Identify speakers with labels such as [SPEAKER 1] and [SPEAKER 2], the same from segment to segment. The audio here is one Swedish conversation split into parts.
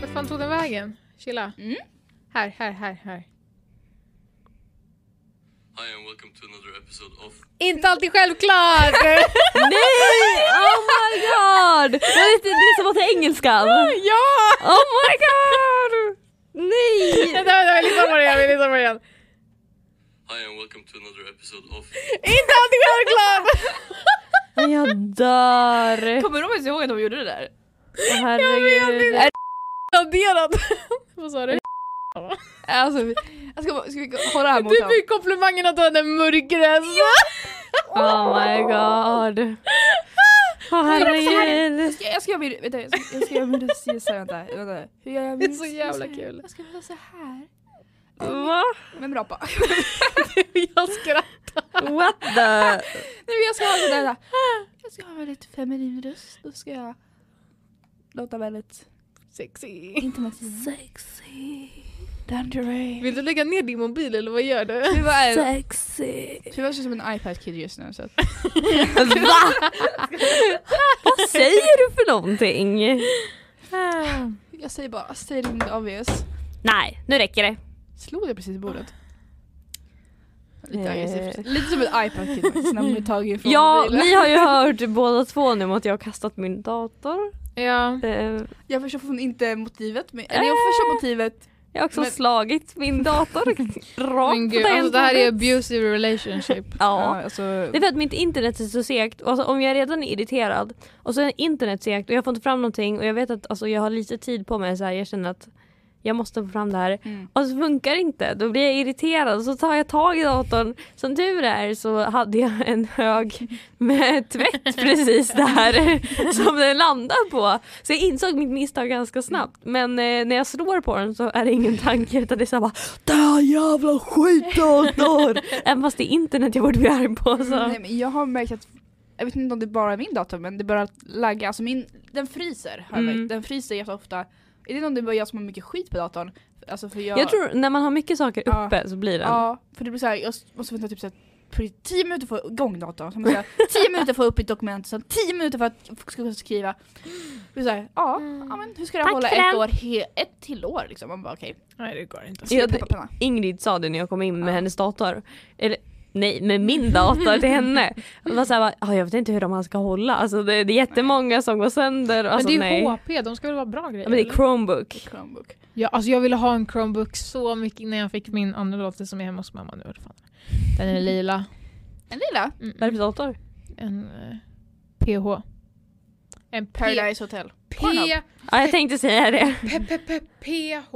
[SPEAKER 1] Vart fan tog den vägen? Chilla.
[SPEAKER 2] Mm.
[SPEAKER 1] Här, här, här, här.
[SPEAKER 3] Hi and welcome to another episode of
[SPEAKER 1] Inte alltid självklart!
[SPEAKER 2] Nej! Oh my god! Det är, det är som att ta engelskan.
[SPEAKER 1] ja!
[SPEAKER 2] Oh my god! Nej!
[SPEAKER 1] Vänta, vänta, lyssna på det igen, vi lyssnar på det igen.
[SPEAKER 3] Hi and welcome to another episode of
[SPEAKER 1] Inte alltid självklart!
[SPEAKER 2] Jag dör.
[SPEAKER 4] Kommer du ens ihåg att de gjorde det där?
[SPEAKER 2] Åh, Herregud. Är-
[SPEAKER 1] Raderat. Vad sa du?
[SPEAKER 4] Alltså, vi- ska, ska vi hålla här mot
[SPEAKER 1] Du
[SPEAKER 4] dem?
[SPEAKER 1] fick komplimangen att du hade en mörk röst.
[SPEAKER 2] Oh my god. Åh herregud.
[SPEAKER 4] Jag ska göra min... Vänta, jag ska, jag ska göra min röst här, vänta. vänta. Hur gör jag
[SPEAKER 1] Det är
[SPEAKER 4] min
[SPEAKER 1] så
[SPEAKER 4] röst?
[SPEAKER 1] jävla kul.
[SPEAKER 4] Jag ska göra så här.
[SPEAKER 2] Va?
[SPEAKER 4] Med bra Nej
[SPEAKER 1] Jag skrattar.
[SPEAKER 2] What the?
[SPEAKER 4] men jag ska ha sådär. där. Jag ska ha en väldigt feminin röst. Då ska jag låta väldigt
[SPEAKER 1] Sexy.
[SPEAKER 4] intimativ.
[SPEAKER 2] Sexy.
[SPEAKER 4] Danderay.
[SPEAKER 1] Vill du lägga ner din mobil eller vad gör du?
[SPEAKER 4] Tuva är...
[SPEAKER 2] Sexy.
[SPEAKER 4] Tuva känns som en iPad kid just nu så att...
[SPEAKER 2] Va? Vad säger du för någonting?
[SPEAKER 4] Jag säger bara stating the obvious.
[SPEAKER 2] Nej, nu räcker det.
[SPEAKER 4] Slog jag precis i bordet?
[SPEAKER 2] Eh.
[SPEAKER 1] Eh.
[SPEAKER 4] Lite aggressivt. Lite som en iPad kid faktiskt. När man blir tagen från
[SPEAKER 2] Ja,
[SPEAKER 4] mobilen.
[SPEAKER 2] ni har ju hört båda två nu om att jag har kastat min dator.
[SPEAKER 1] Ja.
[SPEAKER 2] Eh,
[SPEAKER 4] Jag förstår fortfarande inte motivet. Men,
[SPEAKER 1] Eh.
[SPEAKER 4] eller jag förstår motivet.
[SPEAKER 2] Jag har också
[SPEAKER 4] Men-
[SPEAKER 2] slagit min dator rakt
[SPEAKER 1] Men
[SPEAKER 2] på
[SPEAKER 1] gud, alltså det här är
[SPEAKER 2] tangentbordet.
[SPEAKER 1] abusive relationship.
[SPEAKER 2] Ja.
[SPEAKER 4] alltså,
[SPEAKER 2] Det är för att mitt internet är så segt. Och Alltså, om jag redan är irriterad och så är internet segt och jag får inte fram någonting och jag vet att alltså, jag har lite tid på mig så här, jag känner att jag måste få fram det här.
[SPEAKER 4] Mm.
[SPEAKER 2] Och så funkar det inte. Då blir jag irriterad och så tar jag tag i datorn. Som tur är så hade jag en hög med tvätt precis där som den landar på. Så jag insåg mitt misstag ganska snabbt. Men eh, när jag slår på den så är det ingen tanke utan det är så här bara Där jävla skitdator! Även fast det är internet jag borde bli arg på. Så.
[SPEAKER 4] Nej, men jag har märkt att, jag vet inte om det bara är min dator men det börjar lagga, alltså min, den fryser har jag
[SPEAKER 2] Mm.
[SPEAKER 4] märkt. Den fryser jätteofta. Jag vet inte om det är bara jag som har mycket skit på datorn. Alltså för jag,
[SPEAKER 2] Jag tror när man har mycket saker
[SPEAKER 4] Ja.
[SPEAKER 2] uppe så blir den.
[SPEAKER 4] Ja, för det blir såhär, jag måste vänta typ såhär på 10 minuter för att få igång datorn, sen måste jag 10 minuter för att få upp ett dokument, sen 10 minuter för att jag ska kunna skriva. Det är så här, ja, ja men hur ska det här
[SPEAKER 2] Mm. Tack
[SPEAKER 4] hålla
[SPEAKER 2] för
[SPEAKER 4] ett
[SPEAKER 2] den.
[SPEAKER 4] år, he- ett till år liksom? Man bara okej.
[SPEAKER 1] Nej det går inte.
[SPEAKER 2] Ja, det-
[SPEAKER 4] pepparpanna.
[SPEAKER 2] Ingrid sa det när jag kom in med
[SPEAKER 4] Ja.
[SPEAKER 2] hennes dator. Eller nej, med min dator till henne. Det var så här, bara, "Ah, jag vet inte hur de här ska hålla. Alltså, det, det är jättemånga som går sönder. Alltså,
[SPEAKER 1] men det är
[SPEAKER 2] nej.
[SPEAKER 1] ju HP, de ska väl vara bra grejer?
[SPEAKER 2] Ja, men det
[SPEAKER 1] eller?
[SPEAKER 2] är Chromebook.
[SPEAKER 4] Chromebook.
[SPEAKER 1] ja, alltså jag ville ha en Chromebook så mycket innan jag fick min andra dator som är hemma hos mamma nu. Vad fan. Den är lila.
[SPEAKER 4] En lilla?
[SPEAKER 1] Mm.
[SPEAKER 2] Vad är det för dator?
[SPEAKER 1] En eh, PH. En P...
[SPEAKER 4] Paradise Hotel.
[SPEAKER 1] P...
[SPEAKER 4] Pornhub.
[SPEAKER 2] Ja, jag tänkte säga det.
[SPEAKER 1] P... P... P... PH.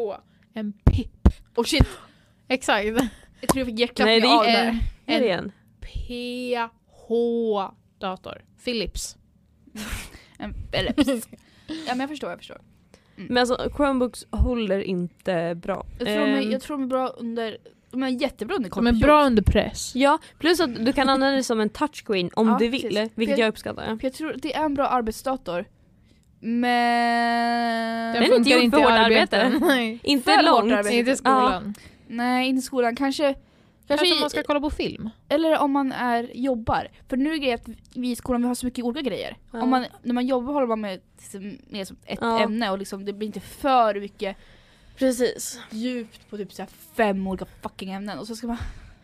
[SPEAKER 1] En PIP.
[SPEAKER 4] Och shit,
[SPEAKER 1] Exakt. Eh,
[SPEAKER 4] jag tror jag fick
[SPEAKER 2] Nej,
[SPEAKER 4] hjärtklappning
[SPEAKER 2] det
[SPEAKER 4] av
[SPEAKER 2] gick- eh,
[SPEAKER 4] där.
[SPEAKER 1] En,
[SPEAKER 2] Är
[SPEAKER 1] en
[SPEAKER 2] det igen?
[SPEAKER 1] PH-dator. Philips.
[SPEAKER 4] En, eller, pss. ja men jag förstår, jag förstår.
[SPEAKER 2] Men alltså Chromebooks håller inte bra.
[SPEAKER 4] Jag tror de är,
[SPEAKER 2] Ehm,
[SPEAKER 4] jag tror de är bra under, de är jättebra under
[SPEAKER 1] De är bra under press.
[SPEAKER 2] Ja, plus att du kan använda det som en touchscreen om
[SPEAKER 4] Ja,
[SPEAKER 2] du vill.
[SPEAKER 4] precis.
[SPEAKER 2] Vilket
[SPEAKER 4] För-
[SPEAKER 2] jag uppskattar.
[SPEAKER 4] För jag tror det är en bra arbetsdator. Men...
[SPEAKER 2] Den är inte gjord för hårt arbete.
[SPEAKER 1] Nej.
[SPEAKER 2] Inte
[SPEAKER 4] för hårt
[SPEAKER 2] långt.
[SPEAKER 4] arbete.
[SPEAKER 1] Inte i skolan.
[SPEAKER 4] Nej, inte i skolan. Kanske, kanske,
[SPEAKER 1] Kanske om man ska kolla på film.
[SPEAKER 4] eller om man är, jobbar. För nu är det grejen att vi i skolan vi har så mycket olika grejer.
[SPEAKER 2] Ja.
[SPEAKER 4] Om man, när man jobbar håller man med, med som ett
[SPEAKER 2] Ja.
[SPEAKER 4] ämne och liksom, det blir inte för mycket
[SPEAKER 2] Precis.
[SPEAKER 4] djupt på typ så här fem olika fucking ämnen. Och så ska man...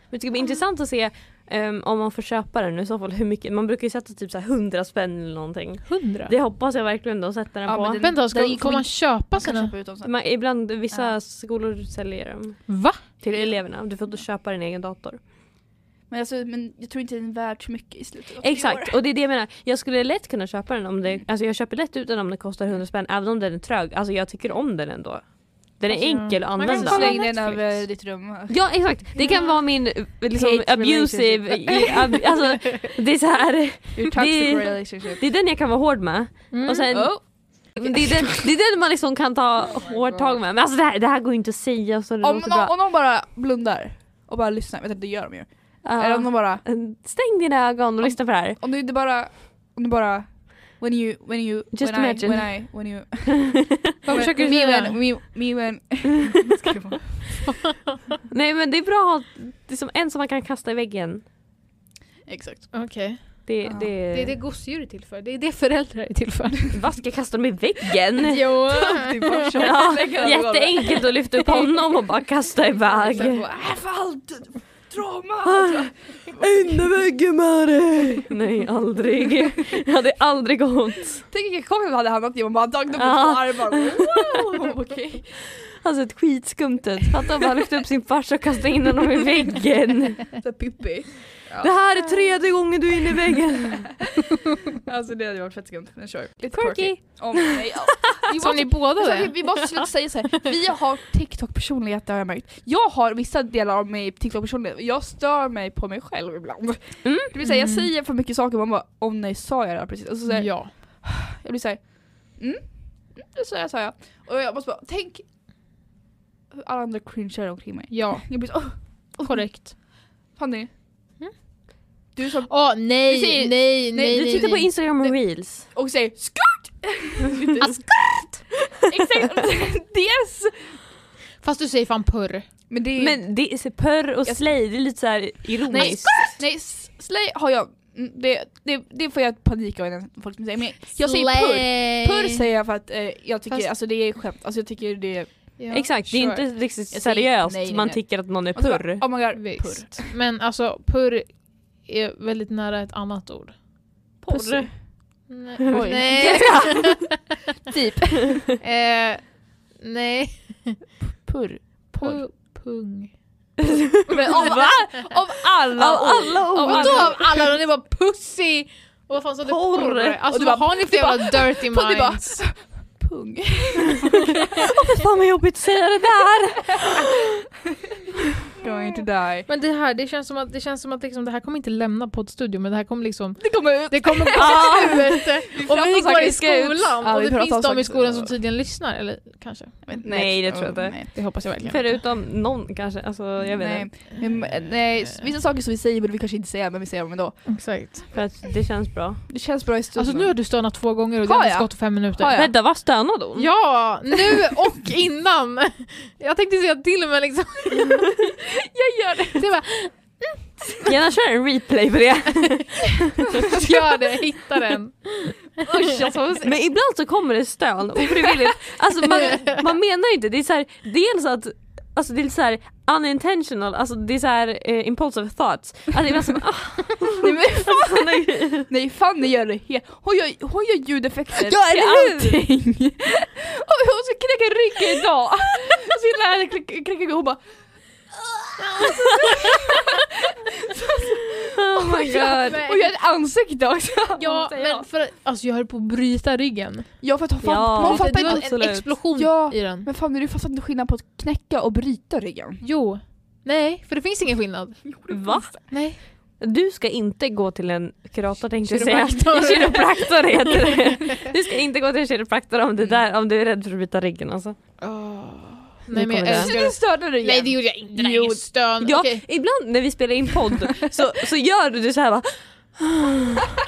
[SPEAKER 2] Men det ska bli intressant att se ehm, om man får köpa den i så fall hur mycket. Man brukar ju sätta typ så här 100 spänn eller någonting.
[SPEAKER 1] Hundra.
[SPEAKER 2] Det hoppas jag verkligen de sätter den
[SPEAKER 4] Ja,
[SPEAKER 2] på.
[SPEAKER 4] men
[SPEAKER 1] Vänta, ska,
[SPEAKER 4] Den
[SPEAKER 1] får
[SPEAKER 4] kommer
[SPEAKER 1] man
[SPEAKER 4] inte-
[SPEAKER 1] köpa
[SPEAKER 4] man kan
[SPEAKER 1] sina?
[SPEAKER 4] köpa ut dem sen.
[SPEAKER 2] Man, ibland, vissa
[SPEAKER 4] Ja.
[SPEAKER 2] skolor säljer dem
[SPEAKER 1] Va?
[SPEAKER 2] till eleverna. Du får inte köpa din egen dator.
[SPEAKER 4] Men, alltså, men jag tror inte den är värd så mycket i slutet av tre år.
[SPEAKER 2] Exakt, och det är det jag menar. Jag skulle lätt kunna köpa den om det, alltså jag köper lätt ut den om det kostar 100 spänn även om den är trög. Alltså jag tycker om den ändå. Den är
[SPEAKER 1] Alltså,
[SPEAKER 2] enkel att
[SPEAKER 1] man kan
[SPEAKER 2] använda.
[SPEAKER 1] kolla
[SPEAKER 4] Släng den
[SPEAKER 1] Netflix.
[SPEAKER 4] över ditt rum.
[SPEAKER 2] Ja exakt, det kan vara min eh, liksom,
[SPEAKER 4] Hate
[SPEAKER 2] abusive, ab, alltså det är så här,
[SPEAKER 4] Ur
[SPEAKER 2] Det-
[SPEAKER 4] toxic relationship.
[SPEAKER 2] det är den jag kan vara hård med.
[SPEAKER 1] Mm.
[SPEAKER 2] Och sen,
[SPEAKER 4] Oh.
[SPEAKER 2] det, är den, det är den man liksom kan ta hårt tag med. Men alltså det här, det här går ju inte att säga så det
[SPEAKER 4] Om
[SPEAKER 2] låter
[SPEAKER 4] någon,
[SPEAKER 2] bra.
[SPEAKER 4] om någon bara blundar och bara lyssnar, vet inte, det gör de ju.
[SPEAKER 2] Ja.
[SPEAKER 4] Eller om de bara,
[SPEAKER 2] Stäng dina ögon och lyssna på det här.
[SPEAKER 4] om du inte bara, om du bara When you, when you,
[SPEAKER 2] Just
[SPEAKER 4] when I,
[SPEAKER 2] imagine.
[SPEAKER 4] when I, when you
[SPEAKER 1] Vad försöker du
[SPEAKER 4] me
[SPEAKER 1] säga?
[SPEAKER 4] when, me, me when... Ska jag bara-
[SPEAKER 2] Nej men det är bra att ha det är som en som man kan kasta i väggen.
[SPEAKER 4] Exakt.
[SPEAKER 1] Okej.
[SPEAKER 2] Det,
[SPEAKER 4] Ja.
[SPEAKER 2] det,
[SPEAKER 1] Det är det gosedjur är till för. Det är det föräldrar är till för.
[SPEAKER 2] Vad ska jag kasta dem i väggen?
[SPEAKER 1] jo.
[SPEAKER 2] Typ. Ja, jätteenkelt att lyfta upp honom och bara kasta iväg.
[SPEAKER 4] Exakt, bara, Äh, för allt! Drama!
[SPEAKER 2] In i väggen med dig! Nej, aldrig. Jag hade aldrig gått.
[SPEAKER 4] Tänk vilken chock det hade hamnat i om man bara tagit upp
[SPEAKER 2] Ja.
[SPEAKER 4] ah. armar wow, okej.
[SPEAKER 2] Alltså ett skitskumt ut. Fatta om han lyfte upp sin farsa och kastade in honom i väggen.
[SPEAKER 4] Så Pippi.
[SPEAKER 2] Det här är tredje gången du är inne i väggen.
[SPEAKER 4] Alltså det hade varit fett skumt. Men kör. Lite
[SPEAKER 2] Quirky.
[SPEAKER 4] Om, nej, ja. Vi
[SPEAKER 1] Som
[SPEAKER 4] måste-
[SPEAKER 1] ni båda
[SPEAKER 4] Alltså, vi,
[SPEAKER 1] det?
[SPEAKER 4] vi måste sluta säga så här. vi har TikTok-personlighet har jag märkt. Jag har vissa delar av mig TikTok-personlighet, jag stör mig på mig själv ibland.
[SPEAKER 2] Mm.
[SPEAKER 4] Det vill säga jag
[SPEAKER 1] Mm.
[SPEAKER 4] säger för mycket saker och man bara åh nej sa jag det här precis? Och så, så här,
[SPEAKER 1] Ja.
[SPEAKER 4] Jag blir såhär, mm, mm, det sa jag, sa jag. Och jag måste bara, tänk hur alla andra cringear omkring mig.
[SPEAKER 1] Ja.
[SPEAKER 4] Jag blir så, åh,
[SPEAKER 1] Korrekt.
[SPEAKER 4] Fanny.
[SPEAKER 1] Mm.
[SPEAKER 4] Du som,
[SPEAKER 1] Åh nej,
[SPEAKER 4] Vi säger-
[SPEAKER 1] nej, nej,
[SPEAKER 4] nej,
[SPEAKER 1] nej.
[SPEAKER 2] Du tittar på
[SPEAKER 1] nej.
[SPEAKER 2] Instagram och reels.
[SPEAKER 4] och säger skurt! Lite- Exakt, dels!
[SPEAKER 1] Fast du säger fan purr.
[SPEAKER 4] Men det är
[SPEAKER 2] Men det är så purr och slay, det är lite så här ironiskt.
[SPEAKER 4] Nej, s- slay har jag, mm, det, det, det får jag panik av när folk säger men jag säger purr. Purr säger jag för att eh, jag tycker,
[SPEAKER 1] Fast-
[SPEAKER 4] alltså det är skämt, alltså jag tycker det är...
[SPEAKER 1] Ja,
[SPEAKER 2] Exakt, det är
[SPEAKER 1] sure.
[SPEAKER 2] inte riktigt
[SPEAKER 4] Jag säger-
[SPEAKER 2] seriöst.
[SPEAKER 4] nej, nej,
[SPEAKER 2] Man
[SPEAKER 4] nej.
[SPEAKER 2] tycker att någon är
[SPEAKER 4] och så bara,
[SPEAKER 2] purr.
[SPEAKER 4] Oh my god, purr.
[SPEAKER 1] Visst. Men alltså purr är väldigt nära ett annat ord.
[SPEAKER 2] Porr.
[SPEAKER 1] Nej.
[SPEAKER 4] Oj.
[SPEAKER 1] Nej.
[SPEAKER 4] Typ.
[SPEAKER 1] eh, nej.
[SPEAKER 4] Purr. Porr.
[SPEAKER 1] Pu- pung.
[SPEAKER 4] Men av,
[SPEAKER 2] Va?
[SPEAKER 4] av alla
[SPEAKER 2] Av alla ord.
[SPEAKER 1] Och då av alla de, det var pussy! Och vad fan sa du?
[SPEAKER 2] Porr.
[SPEAKER 1] Alltså
[SPEAKER 4] Och du
[SPEAKER 1] vad
[SPEAKER 4] bara-
[SPEAKER 1] har ni för
[SPEAKER 4] du bara-
[SPEAKER 1] jävla dirty
[SPEAKER 4] Pung, du bara-
[SPEAKER 1] minds?
[SPEAKER 4] Pung.
[SPEAKER 2] Fan vad jobbigt att säga det där!
[SPEAKER 4] Going to die.
[SPEAKER 1] Men det här, det känns som att det, känns som att liksom, det här kommer inte lämna poddstudion men det här kommer liksom
[SPEAKER 4] Det kommer ut.
[SPEAKER 1] Det kommer gå
[SPEAKER 2] Ja.
[SPEAKER 1] till helvete! Om
[SPEAKER 4] pratar
[SPEAKER 1] Ah. vi
[SPEAKER 4] om
[SPEAKER 1] går
[SPEAKER 4] saker
[SPEAKER 1] i
[SPEAKER 4] som ska ut.
[SPEAKER 1] skolan
[SPEAKER 4] Ja,
[SPEAKER 1] och
[SPEAKER 4] vi pratar
[SPEAKER 1] det
[SPEAKER 4] om
[SPEAKER 1] finns
[SPEAKER 4] saker
[SPEAKER 1] de i skolan
[SPEAKER 4] som-
[SPEAKER 1] som tydligen lyssnar, eller kanske?
[SPEAKER 2] Nej, det tror jag inte.
[SPEAKER 4] Nej.
[SPEAKER 1] Det hoppas jag verkligen.
[SPEAKER 2] Förutom någon kanske, alltså jag vet inte.
[SPEAKER 4] Nej. Men, eh, nej, s- vissa saker som vi säger borde vi kanske inte säga men vi säger dem ändå.
[SPEAKER 1] Exakt.
[SPEAKER 2] För att det känns bra.
[SPEAKER 4] Det känns bra i stunden.
[SPEAKER 1] Alltså nu har du stönat två gånger och det
[SPEAKER 4] Har
[SPEAKER 1] har Mm. inte
[SPEAKER 4] jag?
[SPEAKER 1] gått fem minuter.
[SPEAKER 4] Har Ja, ja. jag?
[SPEAKER 2] Vänta, vad stönade hon?
[SPEAKER 1] Ja, nu och innan. Jag tänkte säga till men liksom... jag gör det. Det bara,
[SPEAKER 2] Gärna kör en replay på
[SPEAKER 4] Alltså-
[SPEAKER 2] det.
[SPEAKER 1] gör det, hitta den.
[SPEAKER 2] Usch, alltså, men ibland så kommer det stön ofrivilligt. Alltså man, man menar ju inte, det är så här, dels att Alltså det är så här unintentional, alltså det är så här eh, impulsive thoughts. Alltså det är bara som, ah,
[SPEAKER 4] Nej, men,
[SPEAKER 2] såna grejer.
[SPEAKER 4] nej Fanny gör det helt... Hon gör, hon gör
[SPEAKER 2] Ja,
[SPEAKER 4] ljudeffekter. till
[SPEAKER 2] eller hur?
[SPEAKER 4] allting. och hon ska knäcka ryggen idag. Och så lär henne knäcka knäcka ryggen och hon bara
[SPEAKER 2] oh my god.
[SPEAKER 4] och gör ett ansikte också.
[SPEAKER 1] Ja, men för att, alltså jag höll på att bryta ryggen.
[SPEAKER 4] Ja för att hon fatt,
[SPEAKER 2] Ja.
[SPEAKER 4] hon
[SPEAKER 1] det,
[SPEAKER 4] fattar
[SPEAKER 1] det var
[SPEAKER 4] inte.
[SPEAKER 1] en
[SPEAKER 2] absolut.
[SPEAKER 1] explosion
[SPEAKER 4] Ja.
[SPEAKER 1] i den.
[SPEAKER 4] Men Fanny du fattar inte skillnad på att knäcka och bryta ryggen.
[SPEAKER 1] Jo. Nej, för det finns ingen skillnad.
[SPEAKER 2] Va?
[SPEAKER 1] Nej.
[SPEAKER 2] Du ska inte gå till en kurator tänkte jag säga.
[SPEAKER 1] Kiropraktor.
[SPEAKER 2] En kiropraktor heter det. Du ska inte gå till en kiropraktor om, det där, om du är rädd för att bryta ryggen alltså.
[SPEAKER 1] Nej men
[SPEAKER 2] kommer
[SPEAKER 1] jag
[SPEAKER 2] det.
[SPEAKER 1] älskar
[SPEAKER 4] Du störde dig igen.
[SPEAKER 1] Nej det gjorde jag inte, det där är
[SPEAKER 4] Jo.
[SPEAKER 1] ingen stön.
[SPEAKER 2] Ja,
[SPEAKER 1] Okej.
[SPEAKER 2] ibland när vi spelar in podd så, så gör du det så här va.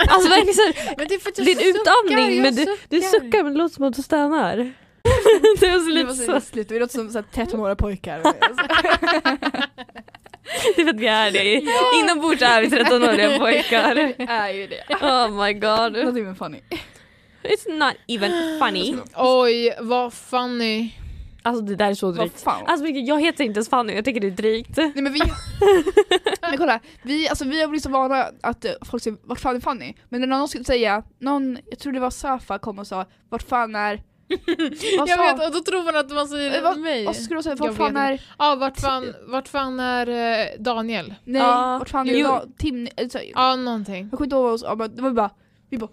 [SPEAKER 2] Alltså verkligen så här,
[SPEAKER 1] Men det är för att
[SPEAKER 2] det är en utandning
[SPEAKER 1] jag
[SPEAKER 2] men du, du suckar men det låter som att du stönar. Det är så
[SPEAKER 4] Det
[SPEAKER 2] lite
[SPEAKER 4] var så
[SPEAKER 2] så,
[SPEAKER 4] hässligt, vi låter som så här 13-åriga pojkar.
[SPEAKER 2] det är för att vi är det. Inombords är vi 13-åriga pojkar.
[SPEAKER 4] är ju det.
[SPEAKER 2] Oh my god.
[SPEAKER 4] Någonting med Fanny.
[SPEAKER 2] It's not even funny.
[SPEAKER 1] Oj, vad funny.
[SPEAKER 2] Alltså det där är så
[SPEAKER 4] Vad
[SPEAKER 2] drygt.
[SPEAKER 4] fan.
[SPEAKER 2] Alltså Mikael, jag heter inte ens Fanny jag tycker det är drygt.
[SPEAKER 4] Nej men vi... men kolla, vi, alltså, vi har blivit så vana att eh, folk säger vart fan är Fanny? Men när någon skulle säga, någon, jag tror det var Safa kom och sa vart fan är... Vad
[SPEAKER 1] Jag
[SPEAKER 4] sa-
[SPEAKER 1] vet, och då tror man att man säger
[SPEAKER 4] Eh, vad-
[SPEAKER 1] mig.
[SPEAKER 4] Och så skulle de säga
[SPEAKER 1] Jag
[SPEAKER 4] vart
[SPEAKER 1] vet
[SPEAKER 4] fan är...
[SPEAKER 1] Ja, vart fan, vart fan är eh, Daniel?
[SPEAKER 4] Nej,
[SPEAKER 2] Ja.
[SPEAKER 4] vart fan
[SPEAKER 2] Jo.
[SPEAKER 4] är da, Tim? eller så här,
[SPEAKER 1] Ja, någonting.
[SPEAKER 4] Jag kommer inte ihåg vad hon sa, men det var bara... Vi bara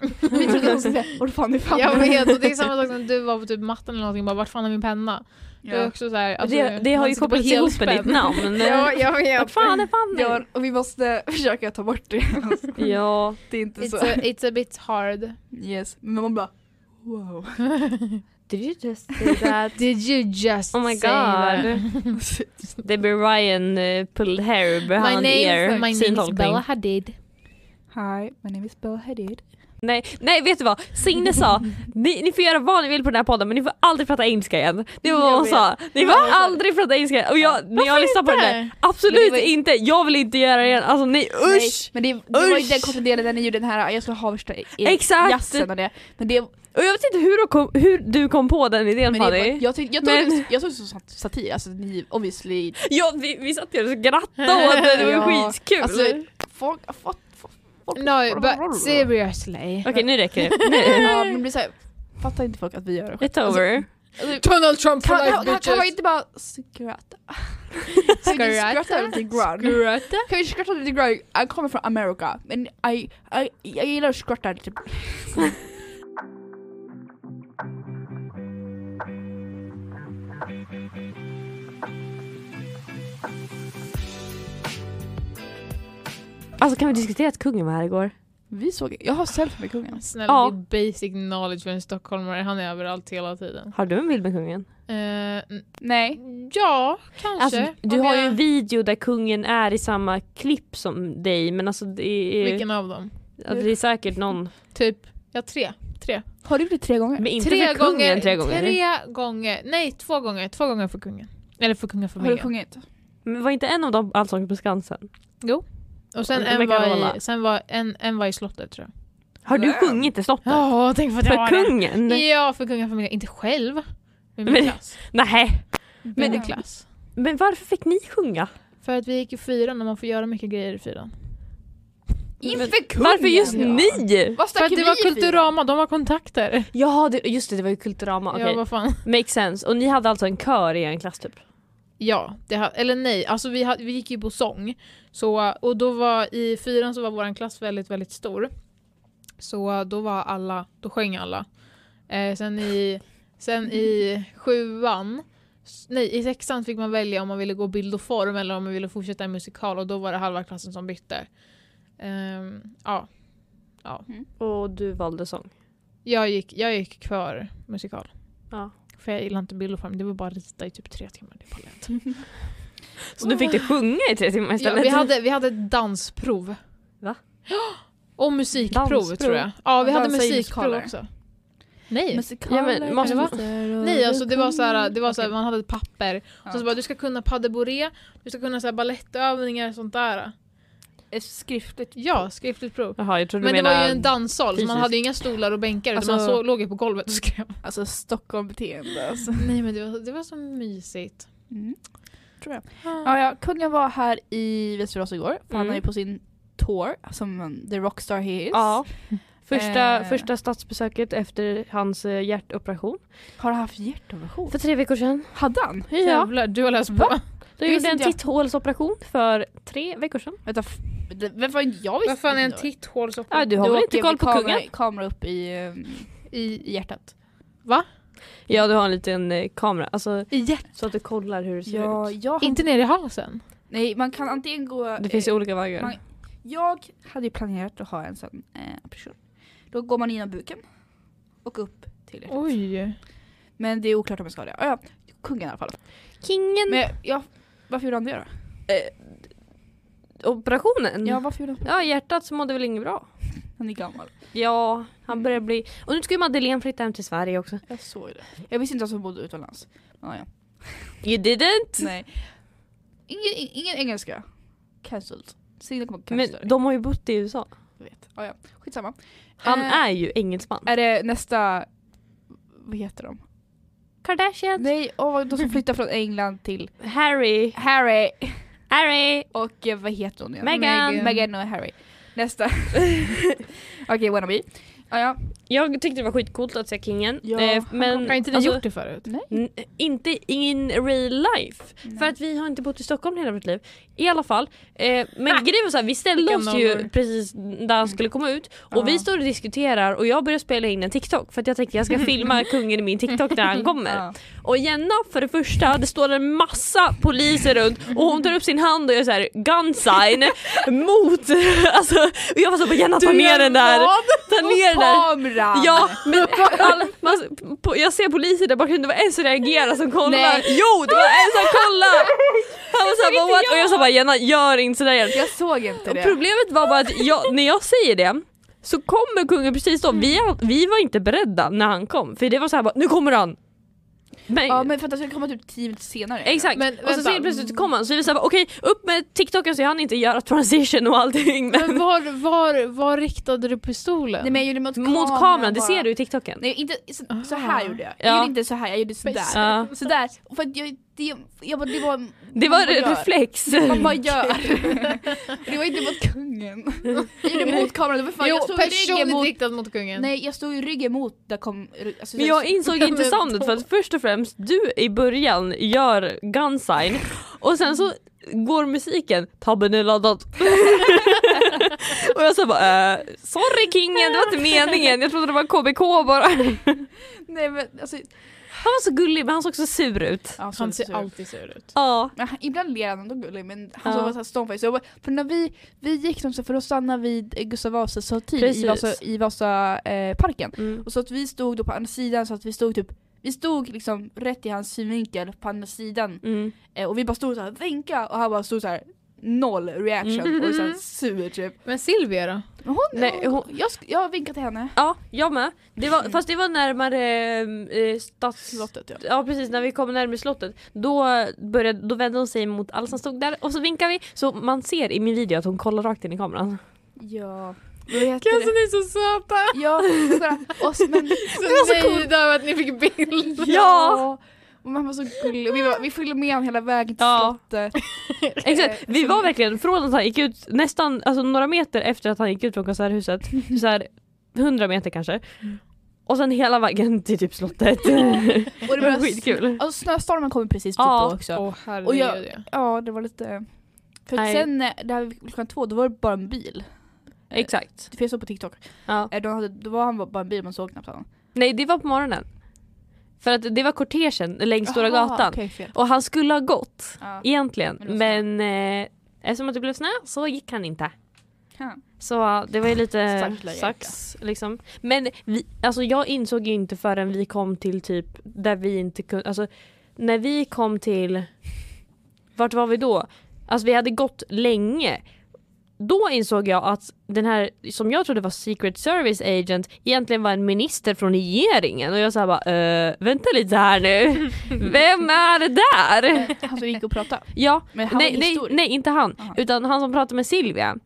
[SPEAKER 4] wow. Vi trodde hon skulle säga vart fan är Fanny?
[SPEAKER 1] Jag vet, och det är samma sak som du var på typ matten eller någonting, bara vart fan är min penna? Det är
[SPEAKER 4] Ja.
[SPEAKER 1] också så här, alltså,
[SPEAKER 2] det, det har
[SPEAKER 1] man
[SPEAKER 2] ju
[SPEAKER 1] sitter på
[SPEAKER 2] kopplat
[SPEAKER 1] ett
[SPEAKER 2] ihop med ditt
[SPEAKER 1] helspänn.
[SPEAKER 2] namn.
[SPEAKER 1] Ja, jag
[SPEAKER 2] Vad
[SPEAKER 1] vet.
[SPEAKER 2] fan är Fanny?
[SPEAKER 4] Ja, och vi måste försöka ta bort det. Alltså,
[SPEAKER 2] Ja.
[SPEAKER 4] det är inte
[SPEAKER 1] It's
[SPEAKER 4] så.
[SPEAKER 1] a, it's a bit hard.
[SPEAKER 4] Yes. Men man bara wow.
[SPEAKER 2] Did you just say that?
[SPEAKER 1] Did you just
[SPEAKER 2] Oh my
[SPEAKER 1] say that?
[SPEAKER 2] god. Debbie Ryan uh, pulled hair
[SPEAKER 1] My
[SPEAKER 2] behind
[SPEAKER 1] name,
[SPEAKER 2] ear.
[SPEAKER 1] my name is
[SPEAKER 2] syntolkning.
[SPEAKER 1] Bella Hadid.
[SPEAKER 4] Hi, my name is Bella Hadid.
[SPEAKER 2] Nej, nej vet du vad? Signe sa, ni, ni får göra vad ni vill på den här podden men ni får aldrig prata engelska igen. Det var vad
[SPEAKER 4] Jag
[SPEAKER 2] hon
[SPEAKER 4] vet.
[SPEAKER 2] sa. Ni får aldrig prata engelska igen. Och jag, när jag lyssnade på den där,
[SPEAKER 1] inte?
[SPEAKER 2] absolut
[SPEAKER 4] Men det var-
[SPEAKER 2] inte, jag vill inte göra det igen. Alltså nej
[SPEAKER 4] Nej,
[SPEAKER 2] usch!
[SPEAKER 4] men det, det var ju
[SPEAKER 2] Usch!
[SPEAKER 4] den kontenterade när ni gjorde den här, jag ska haversta i- i
[SPEAKER 2] Exakt.
[SPEAKER 4] jazzen e- och det. Men det,
[SPEAKER 2] Och jag vet inte hur du kom, hur du kom på den idén
[SPEAKER 4] men det
[SPEAKER 2] Fanny.
[SPEAKER 4] jag, tyck, jag, tog,
[SPEAKER 2] Men-
[SPEAKER 4] det- jag tog det som sat- satir, alltså ni obviously...
[SPEAKER 2] Ja, vi, vi satt ju och skrattade åt det, det var
[SPEAKER 4] Ja,
[SPEAKER 2] skitkul.
[SPEAKER 4] Alltså, folk har fått... fått- folk-
[SPEAKER 1] No, but seriously.
[SPEAKER 2] Okej nu räcker det. Nu.
[SPEAKER 4] Ja, men det blir såhär, fattar inte folk att vi gör det
[SPEAKER 2] It's over.
[SPEAKER 4] Alltså,
[SPEAKER 1] Donald Trump
[SPEAKER 4] kan, kan, kan, kan man inte bara skratta? Kan vi inte skratta lite grann?
[SPEAKER 1] Skratta?
[SPEAKER 4] Kan vi skratta lite grann? Jag kommer från Amerika, men I, I, jag gillar att skratta typ- lite.
[SPEAKER 2] Alltså kan vi diskutera att kungen var här igår?
[SPEAKER 4] Vi såg, jag har selfie med kungen.
[SPEAKER 1] Snälla
[SPEAKER 2] Ja.
[SPEAKER 1] det är basic knowledge för en stockholmare, han är överallt hela tiden.
[SPEAKER 2] Har du en bild med kungen?
[SPEAKER 1] Eh, n-
[SPEAKER 4] Nej.
[SPEAKER 1] ja, kanske.
[SPEAKER 2] Alltså, du
[SPEAKER 1] Om
[SPEAKER 2] har ju
[SPEAKER 1] jag-
[SPEAKER 2] en video där kungen är i samma klipp som dig men alltså det är,
[SPEAKER 1] Vilken av dem?
[SPEAKER 2] ja, det är säkert någon.
[SPEAKER 1] Typ, ja tre. Tre.
[SPEAKER 4] Har du gjort det tre gånger?
[SPEAKER 2] Men inte för kungen tre gånger.
[SPEAKER 1] Tre gånger, nej två gånger, två gånger för kungen. Eller för
[SPEAKER 4] Har du
[SPEAKER 1] kungafamiljen.
[SPEAKER 4] sjungit?
[SPEAKER 2] Men var inte en av dem Allsång på Skansen?
[SPEAKER 1] Och sen,
[SPEAKER 2] Men
[SPEAKER 1] en
[SPEAKER 2] vi kan
[SPEAKER 1] var,
[SPEAKER 2] hålla.
[SPEAKER 1] i, sen var en, en var i slottet tror jag.
[SPEAKER 2] Har du
[SPEAKER 4] Nej.
[SPEAKER 2] sjungit i slottet?
[SPEAKER 1] Ja, tänk på att jag
[SPEAKER 2] för
[SPEAKER 1] har det.
[SPEAKER 2] kungen?
[SPEAKER 1] Ja, för kungafamiljen. Inte själv. Med min
[SPEAKER 2] Men-
[SPEAKER 1] klass.
[SPEAKER 2] Nej.
[SPEAKER 1] Med
[SPEAKER 4] men-
[SPEAKER 1] min klass.
[SPEAKER 2] Men varför fick ni sjunga?
[SPEAKER 1] För att vi gick i fyran och man får göra mycket grejer i fyran.
[SPEAKER 4] Inför kungen!
[SPEAKER 2] Varför just
[SPEAKER 4] Ja.
[SPEAKER 2] ni?
[SPEAKER 4] Vad
[SPEAKER 1] För
[SPEAKER 4] stack
[SPEAKER 1] att det
[SPEAKER 4] vi
[SPEAKER 1] var
[SPEAKER 4] i fyra?
[SPEAKER 1] Kulturama, de har kontakter.
[SPEAKER 2] Jaha, det, just det, det var ju Kulturama.
[SPEAKER 1] Ja,
[SPEAKER 2] Okej,
[SPEAKER 1] vad fan.
[SPEAKER 2] makes sense. Och ni hade alltså en kör i en klass typ?
[SPEAKER 1] Ja, det ha, eller nej, alltså vi, ha, vi gick ju på sång. Så, och då var i fyran så var vår klass väldigt, väldigt stor. Så då var alla, då sjöng alla. Eh, sen, i, sen i sjuan, s- nej i sexan fick man välja om man ville gå bild och form eller om man ville fortsätta en musikal och då var det halva klassen som bytte. Ehm, ja,
[SPEAKER 2] Och du valde sång.
[SPEAKER 1] jag gick, jag gick kvar musikal.
[SPEAKER 2] Ja.
[SPEAKER 1] För jag gillar inte bild och form, det var bara att rita i typ tre timmar. Det var lätt.
[SPEAKER 2] Så du fick du sjunga i tre timmar
[SPEAKER 1] Ja,
[SPEAKER 2] istället?
[SPEAKER 1] vi, hade, vi hade ett dansprov.
[SPEAKER 2] Va?
[SPEAKER 1] Ja, Och musikprov
[SPEAKER 2] Dansprov?
[SPEAKER 1] tror jag. Ja, vi hade
[SPEAKER 4] Dansa i
[SPEAKER 1] musikprov
[SPEAKER 4] musikaler.
[SPEAKER 1] också. Nej.
[SPEAKER 4] Musikaler,
[SPEAKER 2] Ja, men måste-
[SPEAKER 4] konserter och
[SPEAKER 1] Nej, alltså det var så här, det var så här
[SPEAKER 4] Mm. Okej.
[SPEAKER 1] man hade ett papper.
[SPEAKER 4] Ja.
[SPEAKER 1] Så, så bara, du ska kunna pas de bourrée, du ska kunna så här, balettövningar och sånt där.
[SPEAKER 4] Ett skriftligt.
[SPEAKER 1] Ja, skriftligt prov.
[SPEAKER 2] Jaha, jag trodde
[SPEAKER 1] Men
[SPEAKER 2] du
[SPEAKER 1] det var ju
[SPEAKER 2] menade...
[SPEAKER 1] en danssal så man
[SPEAKER 2] fysiskt.
[SPEAKER 1] hade ju inga stolar och bänkar utan man
[SPEAKER 4] Alltså-
[SPEAKER 1] så, låg ju på golvet och skrev.
[SPEAKER 4] Alltså Stockholm-beteende alltså.
[SPEAKER 1] Nej men det var, det var så mysigt. Ah,
[SPEAKER 4] Mm. Tror jag. Ja, ja, kungen var här i Västerås igår, för han
[SPEAKER 2] Mm.
[SPEAKER 4] är ju på sin tour som en- the rockstar he is.
[SPEAKER 2] Ja. Första,
[SPEAKER 4] Eh.
[SPEAKER 2] första statsbesöket efter hans eh, hjärtoperation.
[SPEAKER 4] Har han haft hjärtoperation?
[SPEAKER 2] För tre veckor sedan.
[SPEAKER 4] Hade han?
[SPEAKER 2] Ja.
[SPEAKER 1] Jävlar, du har läst på.
[SPEAKER 4] Va?
[SPEAKER 2] Då
[SPEAKER 4] Det
[SPEAKER 2] gjorde
[SPEAKER 4] visste
[SPEAKER 2] en
[SPEAKER 4] inte jag.
[SPEAKER 2] titthålsoperation för tre veckor sedan.
[SPEAKER 4] Vänta, f- det- vem fan jag visste
[SPEAKER 1] Vad fan är en
[SPEAKER 4] inte det var.
[SPEAKER 2] Ja,
[SPEAKER 1] titthålsoperation?
[SPEAKER 2] du har
[SPEAKER 4] Då
[SPEAKER 2] väl
[SPEAKER 4] åker
[SPEAKER 2] inte koll
[SPEAKER 4] vi
[SPEAKER 2] på
[SPEAKER 4] kamera,
[SPEAKER 2] kungen?
[SPEAKER 4] kamera upp i, ehm, i hjärtat.
[SPEAKER 2] Ja, du har en liten eh, kamera. Alltså,
[SPEAKER 1] I hjärt-
[SPEAKER 2] så att du kollar hur det ser
[SPEAKER 4] Ja,
[SPEAKER 2] ut.
[SPEAKER 4] jag hade-
[SPEAKER 1] Inte ner i halsen?
[SPEAKER 4] Nej, man kan antingen gå...
[SPEAKER 2] Det finns ju
[SPEAKER 4] eh,
[SPEAKER 2] olika vägar.
[SPEAKER 4] man- jag hade ju planerat att ha en sån eh, operation. Då går man genom buken och upp till hjärtat.
[SPEAKER 1] Oj.
[SPEAKER 4] Men det är oklart om jag ska ha det. Ah, ja, kungen i alla
[SPEAKER 2] Mm.
[SPEAKER 4] fall.
[SPEAKER 2] Kingen!
[SPEAKER 4] Men ja, varför gjorde han det då?
[SPEAKER 2] Mm. Operationen?
[SPEAKER 4] Ja,
[SPEAKER 2] Ja.
[SPEAKER 4] varför gjorde han det?
[SPEAKER 2] hjärtat så mådde väl inget bra.
[SPEAKER 4] Han är gammal.
[SPEAKER 2] Ja, han börjar bli... Och nu ska ju Madeleine flytta hem till Sverige också.
[SPEAKER 4] Jag såg det. Jag visste inte ens att hon bodde utomlands. Ah, ja.
[SPEAKER 2] You didn't!
[SPEAKER 4] Nej. Ingen, ing- ingen engelska. Cancelled. Signe kommer
[SPEAKER 2] Men
[SPEAKER 4] cancella dig.
[SPEAKER 2] de har ju bott i USA.
[SPEAKER 4] Jag vet. Ah, ja. Skitsamma.
[SPEAKER 2] Han
[SPEAKER 4] Eh,
[SPEAKER 2] är ju engelsman.
[SPEAKER 4] Är det nästa... Vad heter de?
[SPEAKER 2] Kardashian,
[SPEAKER 4] Nej, åh, de som flyttar från England till
[SPEAKER 2] Harry,
[SPEAKER 4] Harry
[SPEAKER 2] Harry!
[SPEAKER 4] och eh, vad heter hon igen?
[SPEAKER 2] Meghan.
[SPEAKER 1] Meghan.
[SPEAKER 4] Meghan och Harry. Nästa. Okej, wannabe. Ah, ja.
[SPEAKER 2] Jag tyckte det var skitcoolt att se kingen.
[SPEAKER 4] Ja,
[SPEAKER 2] eh,
[SPEAKER 4] han
[SPEAKER 2] men,
[SPEAKER 1] Har inte ni
[SPEAKER 2] alltså,
[SPEAKER 1] gjort det förut?
[SPEAKER 2] N- inte in real life. För att vi har inte bott i Stockholm hela vårt liv. I alla fall. Eh, men grejen var så här, vi ställde
[SPEAKER 1] Vilka
[SPEAKER 2] oss ju
[SPEAKER 1] nollor.
[SPEAKER 2] precis där han skulle komma ut och
[SPEAKER 4] Ja.
[SPEAKER 2] vi står och diskuterar och jag börjar spela in en TikTok för att jag tänkte jag ska filma kungen i min TikTok när han kommer.
[SPEAKER 4] Ja.
[SPEAKER 2] Och Jenna för det första, det står en massa poliser runt och hon tar upp sin hand och gör så här gun sign mot... Alltså, och jag var så bara Jenna ta ner den där! Ta ner den där!
[SPEAKER 4] Kameran!
[SPEAKER 2] Ja, men alla, man, på, jag ser poliser där bakom, det var en som reagerade som kollade.
[SPEAKER 4] Nej.
[SPEAKER 2] Jo, det var en som kollade! Han var såhär, bara, what? Och jag sa bara Jenna gör inte sådär igen.
[SPEAKER 4] Jag såg inte det.
[SPEAKER 2] Problemet var bara att jag, när jag säger det så kommer kungen precis då. Vi, vi var inte beredda när han kom för det var så här bara, nu kommer han! Men,
[SPEAKER 4] Ja men för att jag ska komma typ 10 minuter senare.
[SPEAKER 2] Exakt,
[SPEAKER 1] Men
[SPEAKER 2] och så
[SPEAKER 1] vänta.
[SPEAKER 2] ser plötsligt kom han så vi sa bara, okej upp med TikToken så jag hann inte göra transition och allting. Men,
[SPEAKER 1] Men var, var, var riktade du pistolen?
[SPEAKER 4] Nej men jag gjorde mot kameran.
[SPEAKER 2] mot kameran, det
[SPEAKER 4] bara.
[SPEAKER 2] ser du i TikToken.
[SPEAKER 4] Nej inte, så, så
[SPEAKER 1] Ah.
[SPEAKER 4] här gjorde jag. Jag
[SPEAKER 2] Ja.
[SPEAKER 4] gjorde inte så här, jag gjorde sådär.
[SPEAKER 2] Ja.
[SPEAKER 4] Sådär, Och för att jag, det, jag bara, det var...
[SPEAKER 2] Det var
[SPEAKER 4] man bara gör.
[SPEAKER 2] reflex.
[SPEAKER 4] Man bara gör. Och det var inte mot kungen. Jag gjorde mot kameran, det var fan,
[SPEAKER 1] jo,
[SPEAKER 4] jag stod i ryggen
[SPEAKER 1] personligt
[SPEAKER 4] mot...
[SPEAKER 1] riktad mot kungen.
[SPEAKER 4] Nej jag stod i ryggen mot där kom... Alltså,
[SPEAKER 2] Men jag insåg inte
[SPEAKER 1] Men
[SPEAKER 2] soundet för att först och främst du i början gör gun sign och sen så går musiken tabben är laddad. och jag sa bara eh, sorry kingen det var inte meningen jag trodde det var KBK bara.
[SPEAKER 4] Nej men alltså...
[SPEAKER 2] Han var så gullig men han såg så sur ut.
[SPEAKER 4] ja, så
[SPEAKER 1] Han
[SPEAKER 4] lite
[SPEAKER 1] ser
[SPEAKER 4] sur.
[SPEAKER 1] alltid sur ut.
[SPEAKER 2] Ja.
[SPEAKER 4] Men han- Ah, ibland ler han ändå gullig men han
[SPEAKER 2] Ja.
[SPEAKER 4] såg var såhär stoneface. Jag bara, för när vi, vi gick som så för att stanna vid eh, Gustav Vasas högtid
[SPEAKER 2] Precis.
[SPEAKER 4] i Vasa, i Vasa, eh, parken.
[SPEAKER 2] Mm.
[SPEAKER 4] Och så att vi stod då på andra sidan så att vi stod typ vi stod liksom rätt i hans synvinkel på andra sidan
[SPEAKER 2] Mm.
[SPEAKER 4] eh, och vi bara stod såhär vinka och han bara stod såhär noll reaction
[SPEAKER 1] Mm.
[SPEAKER 4] och såhär sur typ.
[SPEAKER 1] Men Silvia då?
[SPEAKER 4] Men hon,
[SPEAKER 2] Nej, hon-
[SPEAKER 4] jag, sk- jag vinkade till henne.
[SPEAKER 2] Ja, jag med. Det var, fast det var närmare eh, stads...
[SPEAKER 4] Slottet ja.
[SPEAKER 2] Ja precis, när vi kom närmare slottet då, började, då vände hon sig mot alla som stod där och så vinkar vi så man ser i min video att hon kollar rakt in i kameran.
[SPEAKER 4] Ja. Vad heter
[SPEAKER 2] alltså,
[SPEAKER 4] det?
[SPEAKER 1] ni är så söta!
[SPEAKER 4] Ja, kolla. Och, så- men,
[SPEAKER 1] Så ni är nöjda över att ni fick bild.
[SPEAKER 2] Ja!
[SPEAKER 4] Och man var så gullig och vi, var, vi följde med honom hela vägen till
[SPEAKER 2] Ja.
[SPEAKER 4] slottet.
[SPEAKER 2] Exakt, vi var verkligen från att han gick ut nästan alltså några meter efter att han gick ut från konserthuset, så här 100 meter kanske. Och sen hela vägen till typ slottet.
[SPEAKER 4] Och det var
[SPEAKER 2] Skitkul.
[SPEAKER 4] Alltså snöstormen kom precis typ
[SPEAKER 2] Ja.
[SPEAKER 4] då också.
[SPEAKER 1] Åh herregud.
[SPEAKER 4] Och jag- Ja det var lite... För att
[SPEAKER 2] Nej.
[SPEAKER 4] sen eh, där vid klockan två då var det bara en bil.
[SPEAKER 2] Exakt.
[SPEAKER 4] För jag såg på TikTok.
[SPEAKER 2] Ja.
[SPEAKER 4] Eh, Då, hade, då var han bara en bil man såg knappt honom.
[SPEAKER 2] Nej det var på morgonen. För att det var kortegen längs Stora
[SPEAKER 4] Aha,
[SPEAKER 2] gatan.
[SPEAKER 4] okej, fel.
[SPEAKER 2] Och han skulle ha gått
[SPEAKER 4] Ja.
[SPEAKER 2] egentligen
[SPEAKER 4] Men det var snö.
[SPEAKER 2] men eh, eftersom att det blev snö så gick han inte.
[SPEAKER 4] Ja.
[SPEAKER 2] Så eh, det var ju lite
[SPEAKER 4] Stackars Erika.
[SPEAKER 2] sax liksom. Men vi, alltså jag insåg ju inte förrän vi kom till typ där vi inte kunde, alltså när vi kom till, vart var vi då? Alltså vi hade gått länge. Då insåg jag att den här som jag trodde var Secret Service Agent egentligen var en minister från regeringen och jag sa bara eh, vänta lite här nu, vem är det där?
[SPEAKER 4] Eh, Han som gick och pratade.
[SPEAKER 2] Ja,
[SPEAKER 4] Men han
[SPEAKER 2] nej,
[SPEAKER 4] var
[SPEAKER 2] nej,
[SPEAKER 4] historik.
[SPEAKER 2] nej inte han.
[SPEAKER 4] Aha.
[SPEAKER 2] Utan han som pratade med Silvia.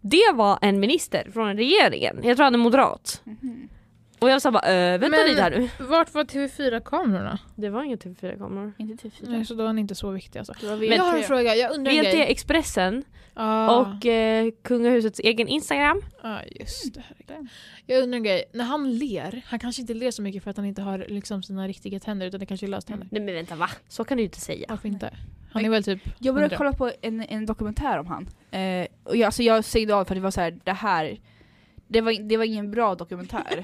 [SPEAKER 2] Det var en minister från regeringen. Jag tror han är moderat.
[SPEAKER 4] Mhm.
[SPEAKER 2] Och jag sa bara äh, vänta
[SPEAKER 1] Men-
[SPEAKER 2] lite här nu.
[SPEAKER 1] Vart var TV4-kamerorna?
[SPEAKER 2] Det var inget TV4-kameror.
[SPEAKER 4] Inte till fyra.
[SPEAKER 1] Nej, så då var ni inte så viktiga alltså.
[SPEAKER 4] Det var
[SPEAKER 1] jag har
[SPEAKER 4] VT.
[SPEAKER 1] en fråga, jag undrar en
[SPEAKER 2] VT
[SPEAKER 1] grej.
[SPEAKER 2] Expressen
[SPEAKER 1] Ah.
[SPEAKER 2] E och eh, kungahusets egen Instagram.
[SPEAKER 1] Ja just det. herregud. Jag undrar en grej, när han ler, han kanske inte ler så mycket för att han inte har liksom, sina riktiga tänder utan det kanske är löständer.
[SPEAKER 2] Nej men vänta va? Så kan du ju inte säga.
[SPEAKER 1] Varför inte? Han är väl typ...
[SPEAKER 4] Jag började
[SPEAKER 1] Undrar.
[SPEAKER 4] kolla på en, en dokumentär om han. Eh, och jag, alltså jag säger av för det var så här, det här det var, det var ingen bra dokumentär.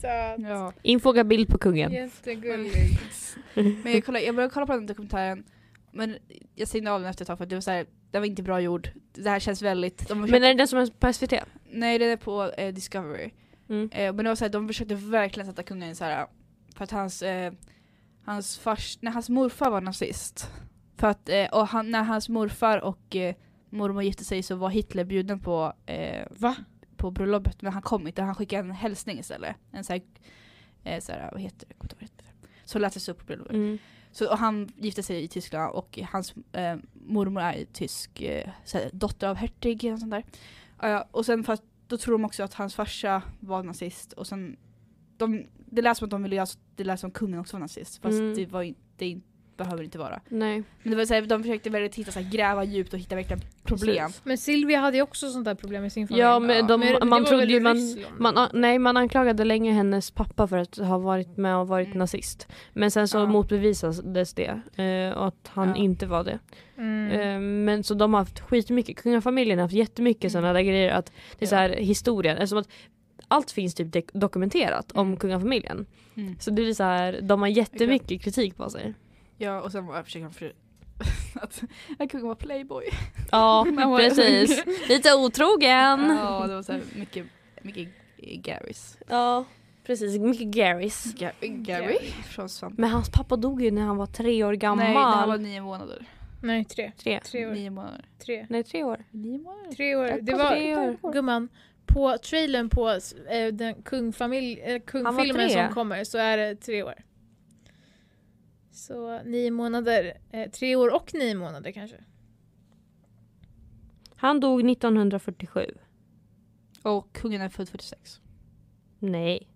[SPEAKER 1] Söt,
[SPEAKER 4] ja.
[SPEAKER 2] Infoga bild på kungen.
[SPEAKER 1] jättegullig.
[SPEAKER 4] Men jag, kollade, jag började kolla på den dokumentären men jag stängde av den efter ett tag för att det var så här, det var inte bra gjord. Det här känns väldigt... De har
[SPEAKER 2] Men är det den som är på SVT?
[SPEAKER 4] Nej den är på eh, Discovery.
[SPEAKER 2] Mm.
[SPEAKER 4] Eh, men det var så här, de försökte verkligen sätta kungen i så här för att hans, eh, hans, fars, nej, hans morfar var nazist. För att, eh, och han, när hans morfar och eh, mormor gifte sig så var Hitler bjuden på, eh,
[SPEAKER 1] Va?
[SPEAKER 4] på bröllopet men han kom inte, han skickade en hälsning istället. En så här, eh, så här vad heter det? Jag kommer inte ihåg vad det? heter. Så lästes upp på bröllopet.
[SPEAKER 2] Mm.
[SPEAKER 4] Så, och han gifte sig i Tyskland och hans eh, mormor är ju tysk, eh, så här, dotter av hertig och sånt där. Eh, och sen för att, då tror de också att hans farsa var nazist och sen de, det lät som att de ville göra så- det lät som att kungen också var nazist fast
[SPEAKER 2] Mm.
[SPEAKER 4] det, var, in- det in, behöver inte vara.
[SPEAKER 2] Nej.
[SPEAKER 4] Men det var så här, de försökte väldigt hitta, så här, gräva djupt och hitta verkligen problem.
[SPEAKER 2] Precis.
[SPEAKER 1] Men Silvia hade ju också sånt där problem i sin familj.
[SPEAKER 2] Ja men
[SPEAKER 4] Ja.
[SPEAKER 2] de,
[SPEAKER 1] Men det
[SPEAKER 2] man
[SPEAKER 1] var
[SPEAKER 2] trodde
[SPEAKER 1] väl i
[SPEAKER 2] ju man,
[SPEAKER 1] Ryssland?
[SPEAKER 2] Man, a- nej, man anklagade länge hennes pappa för att ha varit med och varit
[SPEAKER 4] Mm.
[SPEAKER 2] nazist. Men sen så
[SPEAKER 4] Ja.
[SPEAKER 2] motbevisades det eh, och att han
[SPEAKER 4] Ja.
[SPEAKER 2] inte var det.
[SPEAKER 1] Mm.
[SPEAKER 2] Eh, men så de har haft skitmycket, kungafamiljen har haft jättemycket
[SPEAKER 4] Mm.
[SPEAKER 2] sådana där grejer att det är
[SPEAKER 4] Ja.
[SPEAKER 2] så här historien, eftersom att allt finns typ dek- dokumenterat om
[SPEAKER 4] Mm.
[SPEAKER 2] kungafamiljen.
[SPEAKER 4] Mm.
[SPEAKER 2] Så det blir så här, de har jättemycket kritik på sig.
[SPEAKER 4] Ja och sen var- försökte de för, att, att kungen var playboy.
[SPEAKER 2] Ja
[SPEAKER 4] Man var-
[SPEAKER 2] precis, lite otrogen.
[SPEAKER 4] Ja det var så här, mycket, mycket eh, Garys.
[SPEAKER 2] Ja precis, mycket Garys.
[SPEAKER 4] Ga- Gary från Svamp.
[SPEAKER 2] Men hans pappa dog ju när han var tre år gammal.
[SPEAKER 4] Nej, när han var nio månader.
[SPEAKER 1] Nej, tre.
[SPEAKER 2] tre.
[SPEAKER 1] Tre år.
[SPEAKER 4] Nio månader.
[SPEAKER 1] Tre,
[SPEAKER 2] Nej tre år.
[SPEAKER 4] Nio månader?
[SPEAKER 1] tre år.
[SPEAKER 4] Jag
[SPEAKER 1] Det
[SPEAKER 4] kom
[SPEAKER 1] var...
[SPEAKER 4] tre år.
[SPEAKER 1] Gumman, på trailern på eh, den kungfamilj, eh, kungfilmen
[SPEAKER 2] tre.
[SPEAKER 1] som kommer så är det tre år. Så nio månader, eh, tre år och nio månader kanske.
[SPEAKER 2] Han dog 1947.
[SPEAKER 4] Och kungen är född 46.
[SPEAKER 2] Nej.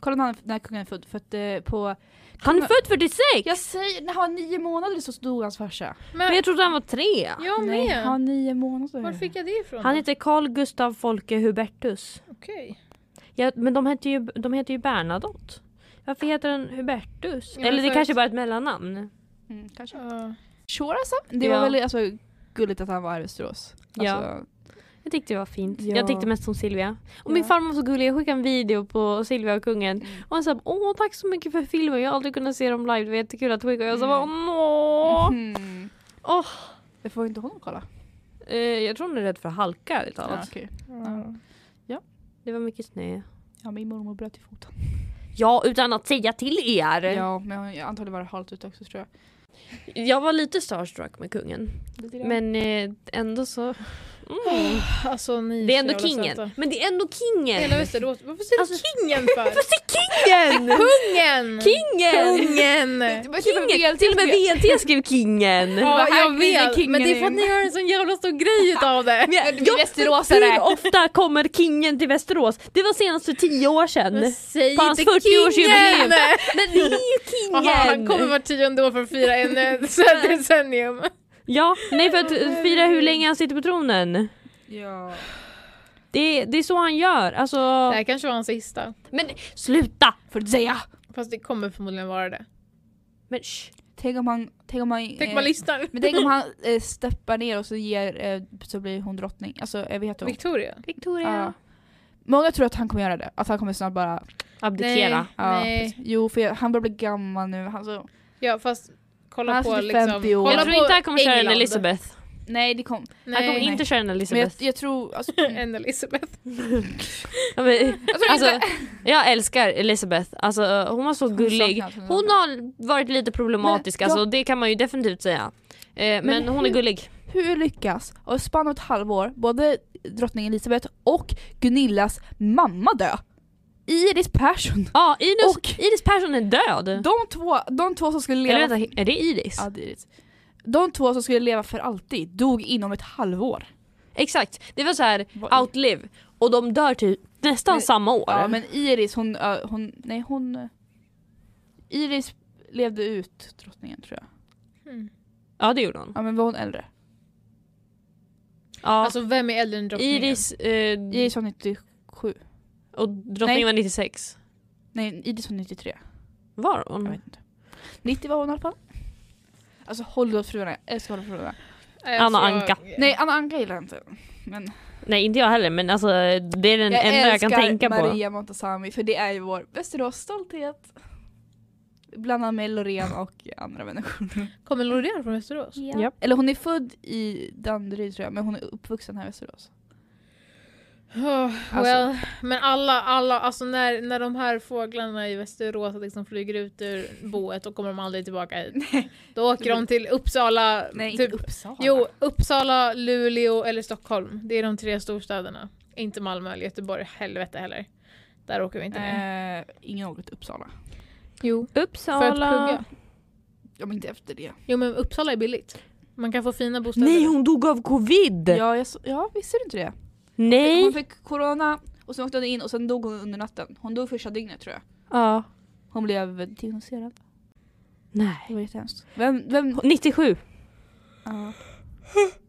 [SPEAKER 4] Kolla när, han, när kungen är född, för att eh, på...
[SPEAKER 2] Han är född 46!
[SPEAKER 4] Jag säger, när han var nio månader så dog hans farsa.
[SPEAKER 1] Men,
[SPEAKER 2] Men jag trodde han var tre.
[SPEAKER 1] jag med!
[SPEAKER 4] Nej, han var nio månader.
[SPEAKER 1] Var fick jag det ifrån?
[SPEAKER 2] Han
[SPEAKER 1] då?
[SPEAKER 2] heter Carl Gustav Folke Hubertus.
[SPEAKER 1] Okej.
[SPEAKER 2] Ja, men de heter, ju, de heter ju Bernadotte. Varför heter han Hubertus?
[SPEAKER 1] Ja, men
[SPEAKER 2] Eller det
[SPEAKER 1] för
[SPEAKER 2] kanske
[SPEAKER 1] att-
[SPEAKER 2] bara är ett mellannamn.
[SPEAKER 4] Mm, kanske.
[SPEAKER 1] Ja.
[SPEAKER 4] Sure, alltså. Det
[SPEAKER 2] Ja.
[SPEAKER 4] var väl alltså, gulligt att han var Arvsdrås.
[SPEAKER 2] Ja.
[SPEAKER 4] Alltså,
[SPEAKER 2] Jag tyckte det var fint.
[SPEAKER 4] Ja.
[SPEAKER 2] Jag tyckte mest om Silvia. Och min
[SPEAKER 4] Ja.
[SPEAKER 2] farmor var så gullig, jag skickade en video på Silvia och kungen. Och han sa åh tack så mycket för filmen, jag har aldrig kunnat se dem live, det var jättekul att skicka. Och jag sa bara åh.
[SPEAKER 4] Mm.
[SPEAKER 2] Åh.
[SPEAKER 4] Jag får inte honom kolla.
[SPEAKER 2] Eh, jag tror hon är rädd för halka ärligt talat.
[SPEAKER 4] okej.
[SPEAKER 1] Ja.
[SPEAKER 2] Det var mycket snö.
[SPEAKER 4] ja, min mormor bröt i foten.
[SPEAKER 2] Ja, utan att säga till er.
[SPEAKER 4] Ja, men jag antagligen var det halt ut också tror jag.
[SPEAKER 2] Jag var lite starstruck med kungen.
[SPEAKER 4] Lite grann.
[SPEAKER 2] Men eh, ändå så... Mm.
[SPEAKER 1] Alltså, ni
[SPEAKER 2] Det är
[SPEAKER 1] så
[SPEAKER 2] ändå
[SPEAKER 1] jävla
[SPEAKER 2] kingen.
[SPEAKER 1] söta.
[SPEAKER 2] Men det är ändå kingen!
[SPEAKER 1] Hela Västerås. Varför säger
[SPEAKER 2] Alltså-
[SPEAKER 1] du kingen för?
[SPEAKER 2] Fast det är kingen!
[SPEAKER 1] Kungen!
[SPEAKER 2] Kingen!
[SPEAKER 1] Kungen!
[SPEAKER 4] Men typ till och med
[SPEAKER 2] Kingen! Till och med VLT skrev kingen!
[SPEAKER 1] Ja,
[SPEAKER 4] här
[SPEAKER 1] jag
[SPEAKER 4] glider
[SPEAKER 1] vet.
[SPEAKER 4] kingen
[SPEAKER 1] Men det är för att
[SPEAKER 4] in.
[SPEAKER 1] ni gör en sån jävla stor grej utav det.
[SPEAKER 2] Men
[SPEAKER 4] vi
[SPEAKER 2] jag-
[SPEAKER 4] västeråsare.
[SPEAKER 2] hur ofta kommer kingen till Västerås? Det var senast för tio år sedan.
[SPEAKER 1] Men säg
[SPEAKER 2] På hans
[SPEAKER 1] inte
[SPEAKER 2] 40-årsjubileum.
[SPEAKER 1] kingen!
[SPEAKER 2] Men det är ju kingen!
[SPEAKER 1] Aha, han kommer var tionde år för att fira en eh, sån- decennium.
[SPEAKER 2] Ja, nej för att fira hur länge han sitter på tronen.
[SPEAKER 4] Ja.
[SPEAKER 2] Det, det är så han gör. Alltså,
[SPEAKER 1] Det här kanske var hans sista.
[SPEAKER 2] men sluta!
[SPEAKER 4] Får du säga!
[SPEAKER 1] Fast det kommer förmodligen vara det.
[SPEAKER 2] Men shh.
[SPEAKER 4] Tänk om han... Tänk om han
[SPEAKER 1] Tänk
[SPEAKER 4] eh,
[SPEAKER 1] man lyssnar.
[SPEAKER 4] men tänk om han eh, steppar ner och så, ger, eh, så blir hon drottning. Alltså, jag vet inte.
[SPEAKER 1] Victoria?
[SPEAKER 2] Victoria.
[SPEAKER 4] Ja. Många tror att han kommer göra det. Att han kommer snart bara...
[SPEAKER 2] Abdikera.
[SPEAKER 4] Ja,
[SPEAKER 1] Nej.
[SPEAKER 4] precis. Jo, för jag, han börjar bli gammal nu. Han, så,
[SPEAKER 1] Ja fast kolla
[SPEAKER 4] Han är
[SPEAKER 1] på
[SPEAKER 4] 50
[SPEAKER 1] liksom...
[SPEAKER 4] år.
[SPEAKER 1] Kolla
[SPEAKER 2] Jag tror inte han kommer köra en
[SPEAKER 1] England.
[SPEAKER 2] Elizabeth.
[SPEAKER 4] nej, det kom.
[SPEAKER 1] Nej.
[SPEAKER 2] Han kommer inte köra en
[SPEAKER 4] Men jag,
[SPEAKER 2] Elizabeth.
[SPEAKER 4] jag tror... Alltså,
[SPEAKER 1] En Elizabeth.
[SPEAKER 2] Ja, men,
[SPEAKER 4] tror
[SPEAKER 2] alltså, jag älskar Elizabeth, alltså, hon var så gullig.
[SPEAKER 4] saknas honom.
[SPEAKER 2] Hon har varit lite problematisk,
[SPEAKER 4] Men,
[SPEAKER 2] alltså, det kan man ju definitivt säga. Eh, men,
[SPEAKER 4] Men
[SPEAKER 2] hon är
[SPEAKER 4] hur-
[SPEAKER 2] gullig.
[SPEAKER 4] Hur lyckas, och spann av ett halvår, både drottning Elisabeth och Gunillas mamma dö? Iris Persson.
[SPEAKER 2] Ja, Iris,
[SPEAKER 4] Och-
[SPEAKER 2] Iris Persson är död.
[SPEAKER 4] De två, de två som skulle leva...
[SPEAKER 2] Eller vänta, är det Iris?
[SPEAKER 4] Ja, det är Iris. De två som skulle leva för alltid dog inom ett halvår.
[SPEAKER 2] Exakt, det var så här
[SPEAKER 4] Vad-
[SPEAKER 2] outlive och de dör typ nästan
[SPEAKER 4] Men-
[SPEAKER 2] samma år.
[SPEAKER 4] Ja men Iris hon, ö, hon nej hon... ö, Iris levde ut drottningen tror jag.
[SPEAKER 2] Mm. Ja, det gjorde hon.
[SPEAKER 4] Ja men var hon äldre?
[SPEAKER 2] Ja.
[SPEAKER 1] Alltså vem är äldre än drottningen?
[SPEAKER 2] Iris, eh,
[SPEAKER 4] Iris var 97.
[SPEAKER 2] och drottningen
[SPEAKER 4] Nej.
[SPEAKER 2] var 96.
[SPEAKER 4] Nej Iris var 93.
[SPEAKER 2] Var
[SPEAKER 4] Jag
[SPEAKER 2] hon?
[SPEAKER 4] vet inte. 90 var hon i alla fall. Alltså Hollywoodfruarna, jag älskar Hollywoodfruarna.
[SPEAKER 1] Nej, alltså,
[SPEAKER 2] Anna
[SPEAKER 1] jag-
[SPEAKER 2] Anka.
[SPEAKER 4] Nej Anna Anka gillar jag inte. Men
[SPEAKER 2] Nej inte jag heller men alltså, det är den
[SPEAKER 4] jag
[SPEAKER 2] enda jag kan tänka
[SPEAKER 4] Maria
[SPEAKER 2] på.
[SPEAKER 4] Maria Montazami för det är ju vår Västerås stolthet. Bland annat med Loreen och andra människor.
[SPEAKER 1] Kommer Loreen från Västerås?
[SPEAKER 2] Japp.
[SPEAKER 4] Eller hon är född i Danderyd tror jag men hon är uppvuxen här i Västerås.
[SPEAKER 1] Oh,
[SPEAKER 4] Alltså-
[SPEAKER 1] well, men alla, alla, alltså när, när de här fåglarna i Västerås liksom flyger ut ur boet då kommer de aldrig tillbaka hit. Då åker de till Uppsala,
[SPEAKER 4] Nej
[SPEAKER 1] typ,
[SPEAKER 4] inte Uppsala.
[SPEAKER 1] jo, Uppsala, Luleå eller Stockholm. Det är de tre storstäderna. Inte Malmö eller Göteborg, helvete heller. Där åker vi inte ner.
[SPEAKER 4] Eh, ingen åker till Uppsala.
[SPEAKER 1] Jo, för att
[SPEAKER 2] Uppsala.
[SPEAKER 1] plugga.
[SPEAKER 4] Ja men inte efter det.
[SPEAKER 1] Jo men Uppsala är billigt. Man kan få fina bostäder.
[SPEAKER 2] Nej hon dog av covid!
[SPEAKER 4] Ja, jag, så- ja visste du inte det? Hon
[SPEAKER 2] Nej!
[SPEAKER 4] fick corona och sen åkte hon in och sen dog hon under natten. Hon dog första dygnet tror jag.
[SPEAKER 2] Ja.
[SPEAKER 4] Hon blev diagnostiserad.
[SPEAKER 2] Nej.
[SPEAKER 4] Det var jättehemskt. Vem, vem?
[SPEAKER 2] 97.
[SPEAKER 4] Ja.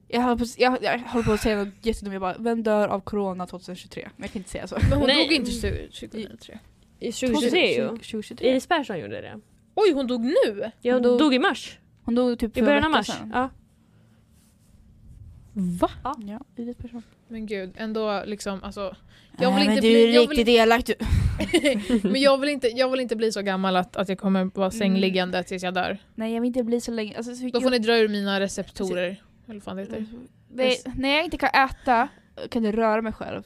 [SPEAKER 4] Jag, håller på, jag, jag håller på att säga något jättedumt, jag bara vem dör av corona 2023? Men jag kan inte säga så.
[SPEAKER 1] Men hon
[SPEAKER 2] Nej.
[SPEAKER 1] dog inte 2003.
[SPEAKER 2] 2023 ju.
[SPEAKER 4] 2023.
[SPEAKER 2] Iris Persson gjorde det.
[SPEAKER 1] Oj hon dog nu?
[SPEAKER 2] Jag
[SPEAKER 4] dog-
[SPEAKER 2] dog i mars.
[SPEAKER 4] Hon dog typ
[SPEAKER 2] I
[SPEAKER 4] för
[SPEAKER 2] början av
[SPEAKER 4] en vecka
[SPEAKER 2] mars.
[SPEAKER 4] sedan.
[SPEAKER 2] Ja.
[SPEAKER 1] Va?
[SPEAKER 4] Ja, Iris person.
[SPEAKER 1] Men gud, ändå liksom alltså. Jag vill inte bli, jag vill,
[SPEAKER 4] elak du.
[SPEAKER 1] men jag vill, inte, jag vill inte bli så gammal att, att jag kommer vara
[SPEAKER 4] Mm.
[SPEAKER 1] sängliggande tills jag dör.
[SPEAKER 4] Nej jag vill inte bli så länge. Alltså, så
[SPEAKER 1] Då får ni dra ur mina receptorer. Eller vad fan det
[SPEAKER 2] Mm.
[SPEAKER 1] heter.
[SPEAKER 4] Nej, när jag inte kan äta kan jag röra mig själv.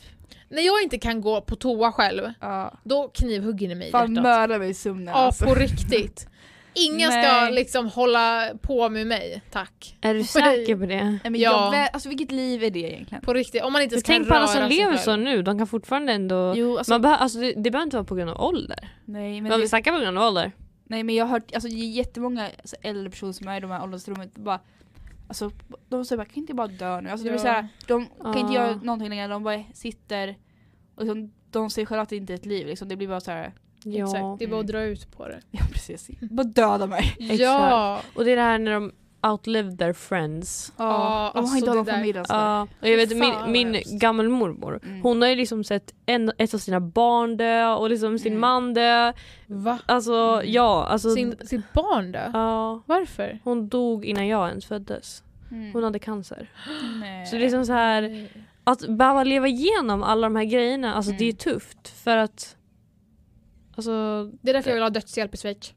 [SPEAKER 1] När jag inte kan gå på toa själv,
[SPEAKER 4] Ja.
[SPEAKER 1] då knivhugger ni mig i
[SPEAKER 4] Fan
[SPEAKER 1] hjärtat.
[SPEAKER 2] alltså.
[SPEAKER 4] mörda mig i sömnen
[SPEAKER 1] Ja, på riktigt. Ingen ska
[SPEAKER 4] Nej.
[SPEAKER 1] liksom hålla på med mig, tack.
[SPEAKER 2] Är du säker på det?
[SPEAKER 4] Nej, men
[SPEAKER 1] Ja.
[SPEAKER 4] jag vä- alltså vilket liv är det egentligen?
[SPEAKER 1] På riktigt, om man inte
[SPEAKER 2] Men
[SPEAKER 1] ska
[SPEAKER 2] tänk på alla
[SPEAKER 1] röra
[SPEAKER 2] som
[SPEAKER 1] sig
[SPEAKER 2] lever
[SPEAKER 1] själv.
[SPEAKER 2] så nu, de kan fortfarande ändå...
[SPEAKER 4] Jo, alltså,
[SPEAKER 2] man behö- alltså, det, det behöver inte vara på grund av ålder.
[SPEAKER 4] nej,
[SPEAKER 2] Men
[SPEAKER 4] men
[SPEAKER 2] man
[SPEAKER 4] det,
[SPEAKER 2] vill snacka på grund av ålder.
[SPEAKER 4] nej men jag har hört, alltså det är jättemånga alltså, äldre personer som är i de här åldersrummen och bara Alltså de säger bara kan inte jag bara dö nu? Alltså, det
[SPEAKER 1] Ja.
[SPEAKER 4] vill säga, de kan inte
[SPEAKER 2] Ah.
[SPEAKER 4] göra någonting längre, de bara sitter och liksom, de ser själva att det inte är ett liv liksom. det blir bara så här.
[SPEAKER 2] Ja.
[SPEAKER 1] Exakt, det är bara att dra ut på det.
[SPEAKER 4] ja precis, bara döda mig.
[SPEAKER 1] Ja!
[SPEAKER 2] Och det är det här när de outlived their friends.
[SPEAKER 4] Ja,
[SPEAKER 1] Ja,
[SPEAKER 4] Ah, de har
[SPEAKER 1] alltså,
[SPEAKER 4] inte
[SPEAKER 1] det
[SPEAKER 4] någon
[SPEAKER 1] där-
[SPEAKER 4] familj ens.
[SPEAKER 2] Ja, och jag vet
[SPEAKER 1] Fy
[SPEAKER 2] min,
[SPEAKER 1] fan, vad
[SPEAKER 2] min
[SPEAKER 1] hemskt.
[SPEAKER 2] gammelmormor,
[SPEAKER 4] Mm.
[SPEAKER 2] hon har ju liksom sett en, ett av sina barn dö och liksom sin
[SPEAKER 4] Mm.
[SPEAKER 2] man dö.
[SPEAKER 1] Va?
[SPEAKER 2] Alltså ja, alltså...
[SPEAKER 1] Mm. Sin, sitt barn dö?
[SPEAKER 2] ja,
[SPEAKER 1] Varför?
[SPEAKER 2] hon dog innan jag ens föddes.
[SPEAKER 4] Mm.
[SPEAKER 2] Hon hade cancer.
[SPEAKER 4] Nej.
[SPEAKER 1] Eh.
[SPEAKER 2] Så det är liksom så här att behöva leva igenom alla de här grejerna, alltså
[SPEAKER 4] Mm.
[SPEAKER 2] det är tufft för att Alltså,
[SPEAKER 1] Det är därför jag vill ha dödshjälp i Schweiz.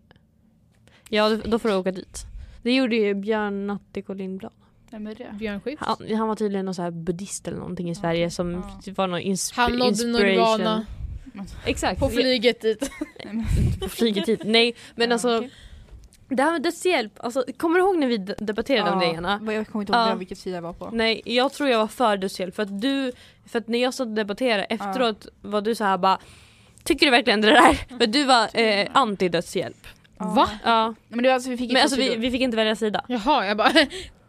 [SPEAKER 2] ja då- då får du åka dit. Det gjorde ju Björn Natthiko Lindblad.
[SPEAKER 4] Vem är det?
[SPEAKER 1] Björn Skifs.
[SPEAKER 2] Han, han var tydligen någon så här buddhist eller någonting i Sverige som
[SPEAKER 4] ja.
[SPEAKER 2] typ var någon insp-
[SPEAKER 1] Han nådde
[SPEAKER 2] inspiration.
[SPEAKER 1] Nirvana
[SPEAKER 2] Exakt.
[SPEAKER 1] på flyget dit.
[SPEAKER 2] på flyget hit. Nej men
[SPEAKER 4] Ja,
[SPEAKER 2] alltså
[SPEAKER 4] okej.
[SPEAKER 2] det här med dödshjälp, alltså, kommer du ihåg när vi de- Ah. debatterade om det Jana?
[SPEAKER 4] Ja, Ah. Jag kommer inte ihåg
[SPEAKER 2] Ja.
[SPEAKER 4] vilket sida jag var på.
[SPEAKER 2] Nej, jag tror jag var för dödshjälp för att du, för att när jag stod och debatterade efteråt var du så här bara Tycker du verkligen det där? Men du var eh, anti dödshjälp.
[SPEAKER 1] Va?
[SPEAKER 2] Ja.
[SPEAKER 4] Ah. Men det var alltså vi fick
[SPEAKER 2] Men alltså vi, vi fick inte välja sida.
[SPEAKER 1] Jaha, jag bara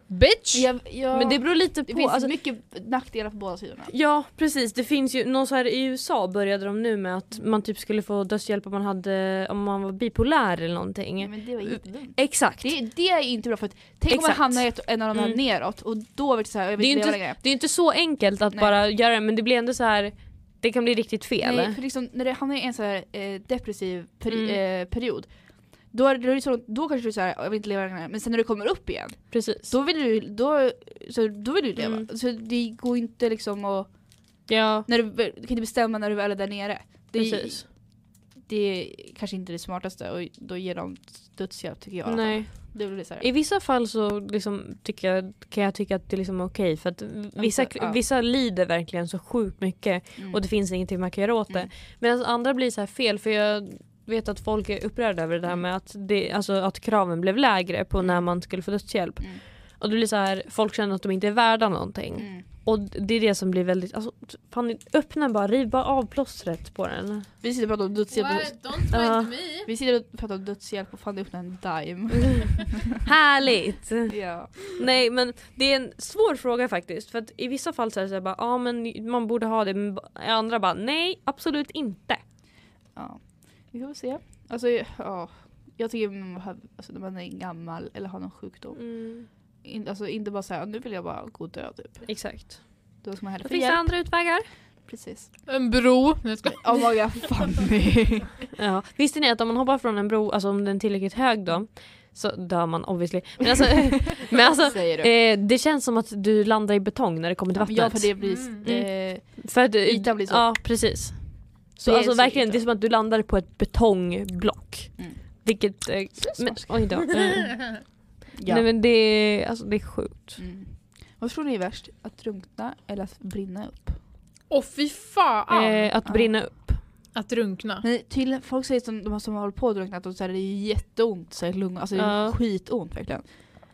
[SPEAKER 1] bitch!
[SPEAKER 4] jag, jag,
[SPEAKER 2] Men det beror lite
[SPEAKER 4] det
[SPEAKER 2] på.
[SPEAKER 4] finns
[SPEAKER 2] Alltså,
[SPEAKER 4] mycket nackdelar på båda sidorna.
[SPEAKER 2] ja precis, det finns ju, någon så här, i USA började de nu med att man typ skulle få dödshjälp om man, hade, om man var bipolär eller någonting.
[SPEAKER 4] Men det var jättedumt.
[SPEAKER 2] Exakt.
[SPEAKER 4] Mm. Det, det är inte bra för att tänk om
[SPEAKER 2] Mm. Exakt.
[SPEAKER 4] man hamnar i ett, en av de här
[SPEAKER 2] Mm.
[SPEAKER 4] neråt och då är det så här, jag
[SPEAKER 2] Det är
[SPEAKER 4] vill
[SPEAKER 2] ju
[SPEAKER 4] inte
[SPEAKER 2] inte-
[SPEAKER 4] leva längre.
[SPEAKER 2] Det är inte så enkelt att
[SPEAKER 4] Nej.
[SPEAKER 2] bara göra det men det blir ändå så här. det kan bli riktigt fel.
[SPEAKER 4] Nej, för liksom, när du hamnar i en så här, eh, depressiv peri-
[SPEAKER 2] Mm.
[SPEAKER 4] eh, period då, är det, då, är det så, då kanske du säger jag vill inte leva längre men sen när du kommer upp igen
[SPEAKER 2] Precis.
[SPEAKER 4] då vill du, då, så, då vill du leva.
[SPEAKER 2] Mm.
[SPEAKER 4] Så det går inte liksom att,
[SPEAKER 2] Ja,
[SPEAKER 4] när du, väl- du kan inte bestämma när du väl är där nere. Det,
[SPEAKER 2] precis.
[SPEAKER 4] det är kanske inte det smartaste och då ger de dödshjälp tycker jag. i alla fall.
[SPEAKER 2] Nej.
[SPEAKER 4] Det blir så här.
[SPEAKER 2] I vissa fall så liksom tycker jag, kan jag tycka att det är liksom okej för att vissa,
[SPEAKER 4] Alltså, ja.
[SPEAKER 2] vissa lider verkligen så sjukt mycket
[SPEAKER 4] Mm.
[SPEAKER 2] och det finns ingenting man kan göra åt det.
[SPEAKER 4] Mm.
[SPEAKER 2] Medan andra blir så här fel för jag vet att folk är upprörda över
[SPEAKER 4] Mm.
[SPEAKER 2] det här med att, det, alltså att kraven blev lägre på när man skulle få dödshjälp.
[SPEAKER 4] Mm.
[SPEAKER 2] Och det blir så här, folk känner att de inte är värda någonting.
[SPEAKER 4] Mm.
[SPEAKER 2] Och det är det som blir väldigt, alltså fan öppna bara, riv bara av plåstret på den.
[SPEAKER 4] Vi sitter och pratar om dödshjälp.
[SPEAKER 1] don't
[SPEAKER 2] Ja.
[SPEAKER 1] me!
[SPEAKER 4] Vi sitter och pratar om dödshjälp och fan det öppnar en dime.
[SPEAKER 2] Härligt!
[SPEAKER 4] ja.
[SPEAKER 2] Nej men det är en svår fråga faktiskt för att i vissa fall så är det såhär bara ja ah, men man borde ha det men b- i andra bara nej absolut inte.
[SPEAKER 4] ja. Vi får se. Alltså ja. Jag tycker man har, alltså, när man är gammal eller har någon sjukdom.
[SPEAKER 2] Mm.
[SPEAKER 4] In, alltså inte bara säga nu vill jag bara gå och dö typ.
[SPEAKER 2] Exakt.
[SPEAKER 4] Då ska man hellre
[SPEAKER 2] Då
[SPEAKER 4] få
[SPEAKER 2] finns det
[SPEAKER 4] hjälp.
[SPEAKER 2] andra utvägar.
[SPEAKER 4] Precis.
[SPEAKER 1] En bro. Nej, jag skojar.
[SPEAKER 4] Av vad jag familj.
[SPEAKER 2] Ja. Visste ni att om man hoppar från en bro, alltså om den är tillräckligt hög då så dör man obviously. Men alltså, men alltså
[SPEAKER 4] Säger du.
[SPEAKER 2] eh, det känns som att du landar i betong när det kommer till vattnet.
[SPEAKER 4] Ja för det blir...
[SPEAKER 1] Mm.
[SPEAKER 4] Eh,
[SPEAKER 2] För att,
[SPEAKER 4] Ytan blir så.
[SPEAKER 2] Ja, precis. Så
[SPEAKER 4] Det är
[SPEAKER 2] alltså
[SPEAKER 4] så
[SPEAKER 2] verkligen,
[SPEAKER 4] ytan.
[SPEAKER 2] det är som att du landar på ett betongblock.
[SPEAKER 4] Mm.
[SPEAKER 2] Vilket... Eh, men, oj då. Eh,
[SPEAKER 4] ja.
[SPEAKER 2] Nej men det är, alltså, det är sjukt.
[SPEAKER 4] mm. Vad tror ni är värst? Att drunkna eller att brinna upp?
[SPEAKER 1] Åh fy fan!
[SPEAKER 2] Eh, att
[SPEAKER 4] ja.
[SPEAKER 2] brinna upp.
[SPEAKER 1] Att drunkna.
[SPEAKER 4] Men till folk säger som de som har hållit på och drunknat, de säger det är jätteont så här, i lungorna, alltså det är
[SPEAKER 2] Ja.
[SPEAKER 4] skitont verkligen.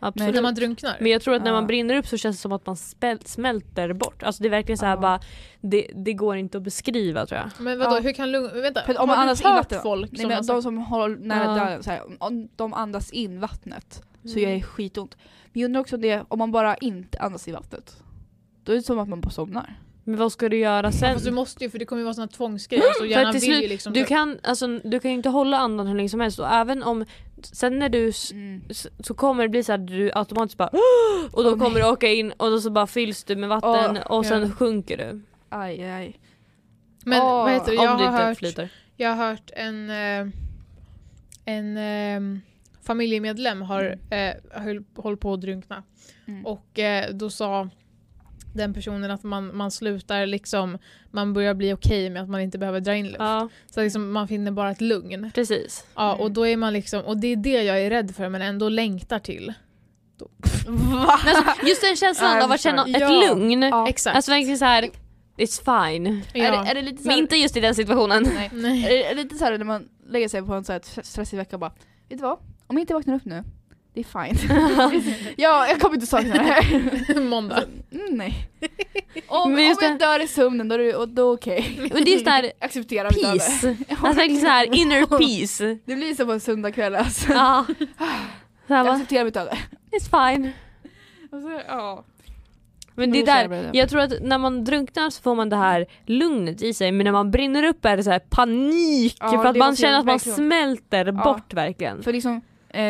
[SPEAKER 2] Absolut.
[SPEAKER 1] När man drunknar.
[SPEAKER 2] men jag tror att när man
[SPEAKER 4] Ja.
[SPEAKER 2] brinner upp så känns det som att man späl- smälter bort. Alltså det är verkligen så här
[SPEAKER 4] Ja.
[SPEAKER 2] bara, det, det går inte att beskriva tror jag.
[SPEAKER 1] Men vadå,
[SPEAKER 4] Ja.
[SPEAKER 1] hur kan lugn... Vänta,
[SPEAKER 4] För om man
[SPEAKER 1] har
[SPEAKER 4] andas
[SPEAKER 1] du
[SPEAKER 4] i
[SPEAKER 1] hört
[SPEAKER 4] vatten-
[SPEAKER 1] folk
[SPEAKER 4] Nej,
[SPEAKER 1] som
[SPEAKER 4] men
[SPEAKER 1] har
[SPEAKER 4] de
[SPEAKER 1] sagt-
[SPEAKER 4] som håller nära
[SPEAKER 2] Ja. Mm.
[SPEAKER 4] döden, så här, om- om de andas in vattnet så gör det skitont. Men jag undrar också om, det, om man bara inte andas i vattnet. Då är det som att man bara somnar.
[SPEAKER 2] Men vad ska du göra sen?
[SPEAKER 1] Fast Alltså, du måste ju för det kommer ju vara såna tvångsgrejer så hjärnan
[SPEAKER 2] Mm, till
[SPEAKER 1] vill ju
[SPEAKER 2] slut-
[SPEAKER 1] liksom
[SPEAKER 2] Du kan, alltså, du kan ju inte hålla andan hur länge som helst och även om, sen när du s- s- så kommer det bli så att du automatiskt bara och då
[SPEAKER 4] Åh, nej.
[SPEAKER 2] kommer du åka in och då så bara fylls du med vatten och sen sjunker du. Om
[SPEAKER 4] Aj, aj.
[SPEAKER 1] Men
[SPEAKER 4] Åh,
[SPEAKER 1] vad heter det, jag
[SPEAKER 2] du
[SPEAKER 1] har,
[SPEAKER 2] inte
[SPEAKER 1] hört,
[SPEAKER 2] flyter.
[SPEAKER 1] jag har hört en, eh, en eh, familjemedlem har eh, höll, håll på att drunkna.
[SPEAKER 4] Mm.
[SPEAKER 1] Och eh, då sa den personen att man, man slutar liksom, man börjar bli okej med att man inte behöver dra in luft.
[SPEAKER 2] Ja
[SPEAKER 1] Så liksom, man finner bara ett lugn.
[SPEAKER 2] precis.
[SPEAKER 1] Ja,
[SPEAKER 4] Mm.
[SPEAKER 1] och då är man liksom, och det är det jag är rädd för men ändå längtar till.
[SPEAKER 4] Va?
[SPEAKER 2] Men alltså, just den
[SPEAKER 4] Ja,
[SPEAKER 2] känslan
[SPEAKER 4] jag
[SPEAKER 2] av att känna
[SPEAKER 1] förstår.
[SPEAKER 2] ett
[SPEAKER 1] Ja.
[SPEAKER 2] lugn.
[SPEAKER 4] Ja.
[SPEAKER 1] Exakt.
[SPEAKER 2] Alltså verkligen såhär, it's fine.
[SPEAKER 1] ja.
[SPEAKER 4] Är, det, är det lite så
[SPEAKER 2] Men
[SPEAKER 4] här,
[SPEAKER 2] inte just i den situationen.
[SPEAKER 4] nej.
[SPEAKER 1] Nej.
[SPEAKER 4] Är det lite så här när man lägger sig på en så här stressig vecka och bara Vet du vad? Om jag inte vaknar upp nu, det är fine. ja, jag kommer inte sakna det här.
[SPEAKER 1] Måndag.
[SPEAKER 4] Mm, nej. Om,
[SPEAKER 2] Men
[SPEAKER 4] om
[SPEAKER 2] just
[SPEAKER 4] jag
[SPEAKER 2] det-
[SPEAKER 4] dör i sömnen då är det, och då okej.
[SPEAKER 2] Och det är såhär
[SPEAKER 4] Acceptera mitt öde.
[SPEAKER 2] peace. Alltså verkligen såhär inner peace.
[SPEAKER 4] Det blir som på en söndagkväll alltså.
[SPEAKER 2] Ja. Såhär
[SPEAKER 4] Jag
[SPEAKER 2] bara,
[SPEAKER 4] accepterar mitt öde.
[SPEAKER 2] it's fine.
[SPEAKER 4] Alltså, ja.
[SPEAKER 2] Men
[SPEAKER 4] Men
[SPEAKER 2] det är
[SPEAKER 4] då känner
[SPEAKER 2] där,
[SPEAKER 4] jag det.
[SPEAKER 2] jag tror att när man drunknar så får man det här lugnet i sig men när man brinner upp är det så här panik
[SPEAKER 4] Ja,
[SPEAKER 2] för att
[SPEAKER 4] det
[SPEAKER 2] man
[SPEAKER 4] måste
[SPEAKER 2] känner
[SPEAKER 4] jag
[SPEAKER 2] att man
[SPEAKER 4] verkligen-
[SPEAKER 2] smälter bort verkligen.
[SPEAKER 4] För liksom, eh,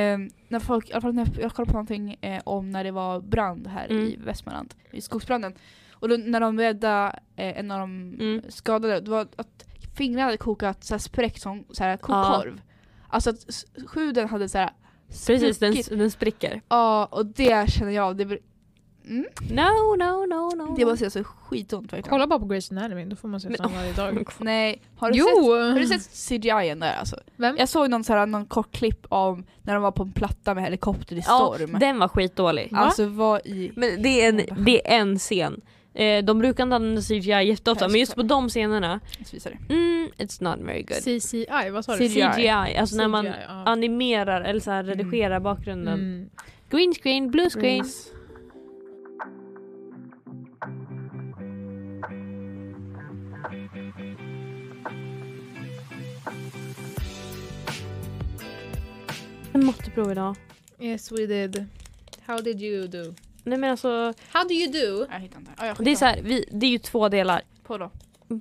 [SPEAKER 4] när folk, i alla fall när jag, jag kollade på någonting eh, om när det var brand här
[SPEAKER 2] Mm.
[SPEAKER 4] i Västmanland, i skogsbranden. Och då, när de räddade eh, en av de
[SPEAKER 2] Mm.
[SPEAKER 4] skadade, det var att fingrarna hade kokat, såhär spräckt som såhär kokkorv. Alltså att s- skuden hade såhär
[SPEAKER 2] Precis, den,
[SPEAKER 4] spruckit.
[SPEAKER 2] den spricker.
[SPEAKER 4] Ja, och det känner jag, det, blir- mm,
[SPEAKER 2] No, no, no, no.
[SPEAKER 4] det måste göra så skitont verkligen.
[SPEAKER 1] Kolla bara på Grace Anatomy, då får man se
[SPEAKER 2] Men-
[SPEAKER 1] sådana varje dag.
[SPEAKER 4] Nej, har du
[SPEAKER 1] jo!
[SPEAKER 4] sett Har du sett CGI-en där alltså?
[SPEAKER 1] Vem?
[SPEAKER 4] Jag såg någon, så här, någon kort klipp om när de var på en platta med helikopter i
[SPEAKER 2] Ja,
[SPEAKER 4] storm.
[SPEAKER 2] den var skitdålig.
[SPEAKER 4] alltså vad i...
[SPEAKER 2] Men det är en, det är en scen. Eh, de brukar inte använda CGI jätteofta
[SPEAKER 4] Jag
[SPEAKER 2] men just på de scenerna,
[SPEAKER 4] Jag ska visa det.
[SPEAKER 2] mm, it's not very good.
[SPEAKER 1] CCI, vad sa du?
[SPEAKER 4] CGI.
[SPEAKER 2] CGI, alltså när man
[SPEAKER 1] CGI, ja.
[SPEAKER 2] animerar eller så här redigerar bakgrunden.
[SPEAKER 1] Mm.
[SPEAKER 2] Green screen, blue screen. En matteprov idag.
[SPEAKER 1] Yes we did. How did you do?
[SPEAKER 2] Nej men alltså,
[SPEAKER 1] How do you do?
[SPEAKER 4] Jag hittar inte. Ja, jag
[SPEAKER 2] det är,
[SPEAKER 4] skickar
[SPEAKER 2] så här, vi, det är ju två delar.
[SPEAKER 4] på då.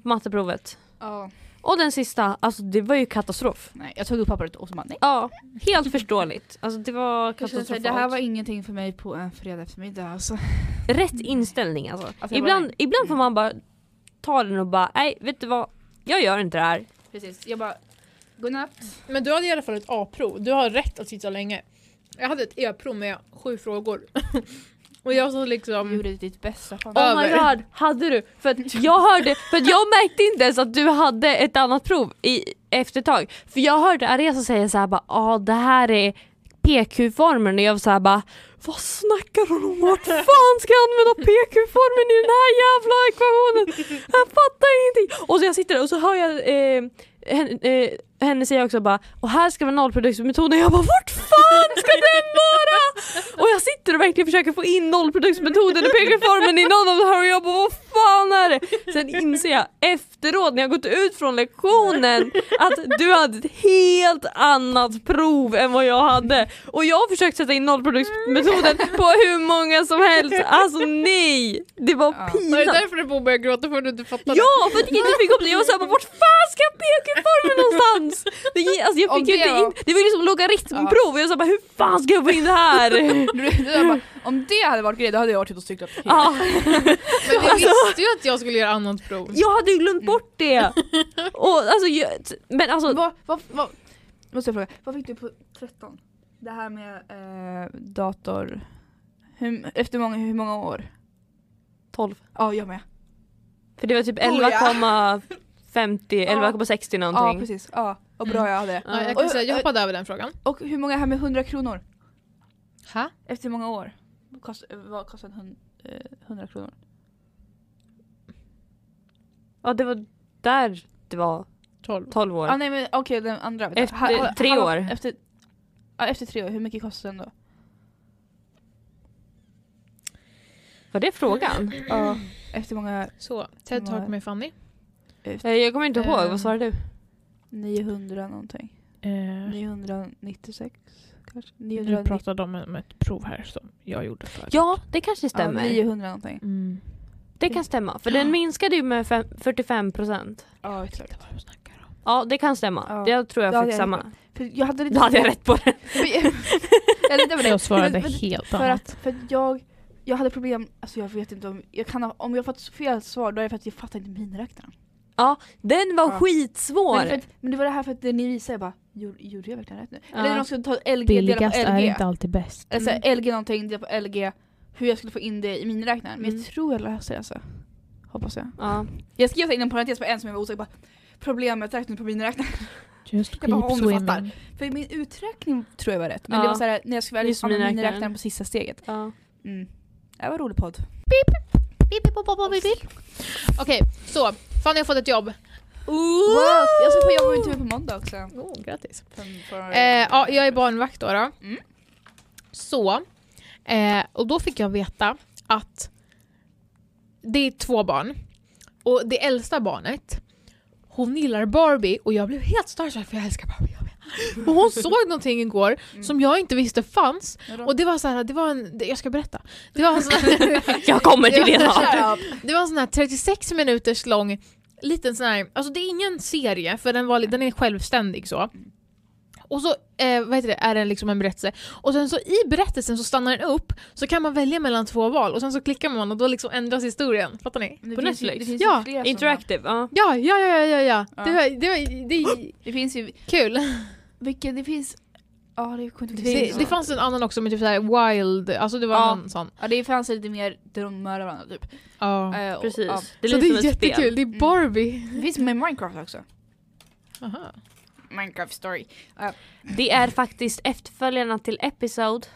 [SPEAKER 2] Matteprovet.
[SPEAKER 4] Ja.
[SPEAKER 2] Och den sista, alltså det var ju katastrof.
[SPEAKER 4] nej, jag tog upp pappret och så bara nej.
[SPEAKER 2] Ja, helt förståeligt. Alltså det var
[SPEAKER 4] Jag känner så här,
[SPEAKER 2] katastrofalt.
[SPEAKER 4] det här var ingenting för mig på en fredag eftermiddag alltså.
[SPEAKER 2] Rätt inställning alltså.
[SPEAKER 4] Alltså, jag bara,
[SPEAKER 2] ibland, ibland får man bara ta den och bara, nej vet du vad, jag gör inte det här.
[SPEAKER 4] Precis, jag bara godnatt.
[SPEAKER 1] Men du hade i alla fall ett A-prov, du har rätt att sitta länge. Jag hade ett E-prov med sju frågor. och jag sa
[SPEAKER 4] Du
[SPEAKER 1] liksom...
[SPEAKER 4] gjorde ditt bästa. Fan.
[SPEAKER 1] Ja.
[SPEAKER 2] Oh my
[SPEAKER 1] Över.
[SPEAKER 2] god, hade du? För att jag hörde, för att jag märkte inte ens att du hade ett annat prov i efter ett tag. För jag hörde Areza säga såhär bara, ja det här är PQ-formen och jag var såhär bara, vad snackar hon om? Vart fan ska jag använda PQ-formen i den här jävla ekvationen? Jag fattar ingenting! Och så jag sitter där och så hör jag eh, henne, eh, henne säga också bara, och här ska vara nollproduktsmetoden. Jag bara, vart fan ska den vara? Och jag sitter och verkligen försöker få in nollproduktsmetoden och PQ-formen i någon av de här och jag bara vad fan är det? Sen inser jag efteråt när jag gått ut från lektionen att du hade ett helt annat prov än vad jag hade. Och jag har försökt sätta in nollproduktsmetoden på hur många som helst. Alltså nej! Det var
[SPEAKER 4] Ja.
[SPEAKER 1] Var det
[SPEAKER 2] pinsamt.
[SPEAKER 1] därför du började gråta för att du inte fattade?
[SPEAKER 2] Ja, för att jag inte fick upp det. Jag var såhär, vart fan ska PQ-formen någonstans? Det, gi- alltså, jag
[SPEAKER 4] Om
[SPEAKER 2] fick ju
[SPEAKER 4] det
[SPEAKER 2] inte in, det var ju liksom logaritmprov och jag sa bara, hur fan ska jag få in det här?
[SPEAKER 4] Du, du bara, om det hade varit grej då hade jag varit ute och cyklat.
[SPEAKER 2] Ja.
[SPEAKER 1] Men vi
[SPEAKER 2] Alltså-
[SPEAKER 1] visste ju att jag skulle göra annat prov.
[SPEAKER 2] Jag hade ju glömt bort det! Och, alltså, jag, men alltså,
[SPEAKER 4] Vad, vad, vad, måste jag fråga, vad fick du på 13? Det här med eh, dator, hur, efter många, hur många år?
[SPEAKER 2] 12.
[SPEAKER 4] Ja, jag med.
[SPEAKER 2] För det var typ
[SPEAKER 4] Oh, ja.
[SPEAKER 2] 11,50, 11,60
[SPEAKER 4] Ja,
[SPEAKER 2] någonting.
[SPEAKER 4] precis. Ja, vad bra jag hade.
[SPEAKER 1] Ja, jag
[SPEAKER 2] Ja.
[SPEAKER 1] kan säga, jag hoppade över den frågan.
[SPEAKER 4] Och hur många här med 100 kronor?
[SPEAKER 1] Ha?
[SPEAKER 4] Efter hur många år? Kost, vad kostar en hund, eh, 100 kronor?
[SPEAKER 2] Ja, det var där det var
[SPEAKER 1] 12.
[SPEAKER 2] 12 år.
[SPEAKER 4] ah, nej men okej den andra. vänta.
[SPEAKER 2] Efter
[SPEAKER 4] Ha- ha-
[SPEAKER 2] tre
[SPEAKER 4] hallå,
[SPEAKER 2] år.
[SPEAKER 4] Efter, ja, efter tre år, hur mycket kostar den då?
[SPEAKER 2] Var det frågan?
[SPEAKER 4] Ja, efter många,
[SPEAKER 1] Så, TED Talk med Fanny.
[SPEAKER 2] Eh, Jag kommer inte
[SPEAKER 1] Eh.
[SPEAKER 2] ihåg, vad svarade du?
[SPEAKER 4] 900 någonting. Mm.
[SPEAKER 1] Eh,
[SPEAKER 4] 996 kanske?
[SPEAKER 1] du
[SPEAKER 4] 990,
[SPEAKER 1] pratade om om ett prov här som jag gjorde förut.
[SPEAKER 2] Ja, det kanske
[SPEAKER 4] ja,
[SPEAKER 2] stämmer.
[SPEAKER 4] 900 någonting.
[SPEAKER 1] Mm.
[SPEAKER 2] Det kan stämma, för den minskade ju med fem, 45%.
[SPEAKER 4] Ja exakt.
[SPEAKER 1] Vad du snackar om.
[SPEAKER 2] Ja, det kan stämma.
[SPEAKER 4] Ja.
[SPEAKER 2] Jag tror
[SPEAKER 4] Ja,
[SPEAKER 2] jag
[SPEAKER 4] det
[SPEAKER 2] fick
[SPEAKER 4] är
[SPEAKER 2] samma.
[SPEAKER 4] För jag hade lite...
[SPEAKER 2] Då hade jag rätt på det.
[SPEAKER 4] jag, lite över det.
[SPEAKER 1] Jag svarade
[SPEAKER 4] Men- men-
[SPEAKER 1] helt
[SPEAKER 4] för
[SPEAKER 1] annat.
[SPEAKER 4] att, för att jag, jag hade problem, alltså jag vet inte om jag kan ha, om jag fått fel svar då är det för att jag fattar inte miniräknaren.
[SPEAKER 2] Den var
[SPEAKER 4] Ja.
[SPEAKER 2] skitsvår!
[SPEAKER 4] Men, det är för att, men det var det här för att det ni visade jag bara, gjorde, gjorde jag verkligen rätt nu?
[SPEAKER 2] Ja. Mm.
[SPEAKER 4] Eller när de skulle ta LG, dela på LG.
[SPEAKER 1] alltid bäst.
[SPEAKER 4] Eller så här, LG någonting, dela på LG. Hur jag skulle få in det i miniräknaren. Men
[SPEAKER 2] Mm.
[SPEAKER 4] jag tror jag löser det alltså. Hoppas jag.
[SPEAKER 2] Ja.
[SPEAKER 4] Jag skrev så här inom parentes på en som jag var osäker på. Problemet räknat på miniräknaren.
[SPEAKER 1] Just
[SPEAKER 4] Jag bara, keep om du swimming. fattar. För min uträkning tror jag var rätt. Men
[SPEAKER 2] Ja.
[SPEAKER 4] det var så här, när jag skulle välja
[SPEAKER 2] Just
[SPEAKER 4] använda
[SPEAKER 2] miniräknaren.
[SPEAKER 4] miniräknaren på sista steget.
[SPEAKER 2] Ja.
[SPEAKER 4] Mm. Det var en rolig podd.
[SPEAKER 1] Okej, så Fanny har fått ett jobb.
[SPEAKER 4] Wow, jag ska få jobba med tur på måndag också.
[SPEAKER 1] Oh, grattis.
[SPEAKER 4] Fem- för-
[SPEAKER 1] Eh, ja, jag är barnvakt då. då.
[SPEAKER 4] Mm.
[SPEAKER 1] Så, eh, och då fick jag veta att det är två barn. Och det äldsta barnet, hon gillar Barbie och jag blev helt starstruck för jag älskar Barbie. jag med. Och hon såg någonting igår
[SPEAKER 4] Mm.
[SPEAKER 1] som jag inte visste fanns.
[SPEAKER 4] Vadå?
[SPEAKER 1] Och det var så här, det var en, det- jag ska berätta. Det var en sån här,
[SPEAKER 2] Jag kommer till det snart.
[SPEAKER 1] det var en sån här 36 minuters lång liten sån här, alltså det är ingen serie för den, var, li- den är självständig så. Och så eh, vad heter det, är det liksom en berättelse. Och sen så i berättelsen så stannar den upp, så kan man välja mellan två val och sen så klickar man och då liksom ändras historien. Fattar ni?
[SPEAKER 4] Det
[SPEAKER 2] på
[SPEAKER 4] finns ju-
[SPEAKER 2] Netflix.
[SPEAKER 4] det finns ju
[SPEAKER 1] Ja,
[SPEAKER 4] fler såna.
[SPEAKER 2] Interactive, ja.
[SPEAKER 1] Ja, ja, ja, ja, ja, ja.
[SPEAKER 4] Ja.
[SPEAKER 1] Det, var, det, var, det är
[SPEAKER 4] Det finns ju,
[SPEAKER 1] kul.
[SPEAKER 4] vilken det finns, ja det kunde inte
[SPEAKER 1] Det, det fanns en annan också med typ såhär wild, alltså det var
[SPEAKER 4] Ja.
[SPEAKER 1] någon sån.
[SPEAKER 4] Ja det fanns lite mer där de mördar varandra typ.
[SPEAKER 1] Ja.
[SPEAKER 4] Eh, och-
[SPEAKER 2] Precis.
[SPEAKER 4] ja.
[SPEAKER 2] Det är
[SPEAKER 1] så
[SPEAKER 2] lite
[SPEAKER 1] det
[SPEAKER 2] som
[SPEAKER 1] är
[SPEAKER 2] ett spel.
[SPEAKER 1] jättekul, det är Barbie.
[SPEAKER 4] Det finns med Minecraft också.
[SPEAKER 1] Aha.
[SPEAKER 4] Minecraft story.
[SPEAKER 2] Det är faktiskt efterföljarna till Episode.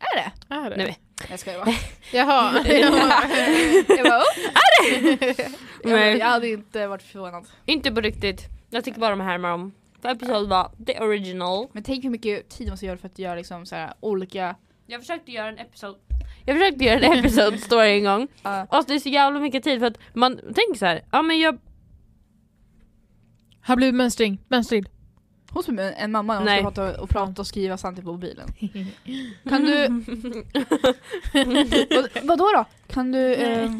[SPEAKER 4] Är det?
[SPEAKER 1] Är det?
[SPEAKER 2] Nej, men-
[SPEAKER 4] Jag skojar bara.
[SPEAKER 1] Jaha.
[SPEAKER 4] jag bara, oh, jag, bara,
[SPEAKER 2] Nej.
[SPEAKER 4] jag hade inte varit förvånad.
[SPEAKER 2] Inte på riktigt. Jag tycker bara de härmar om. För Episode var the original.
[SPEAKER 4] Men tänk hur mycket tid man måste göra för att göra liksom så här olika...
[SPEAKER 2] Jag försökte göra en episode Jag försökte göra en episode story en gång.
[SPEAKER 4] Ja.
[SPEAKER 2] Alltså det är så jävla mycket tid för att man tänker så här, ja men jag,
[SPEAKER 1] Har blivit mönstring, mönstring.
[SPEAKER 4] Hon som är en mamma hon
[SPEAKER 2] Nej.
[SPEAKER 4] ska prata och, prata och skriva samtidigt på mobilen. Kan du... vad, vadå då? Kan du... ehm,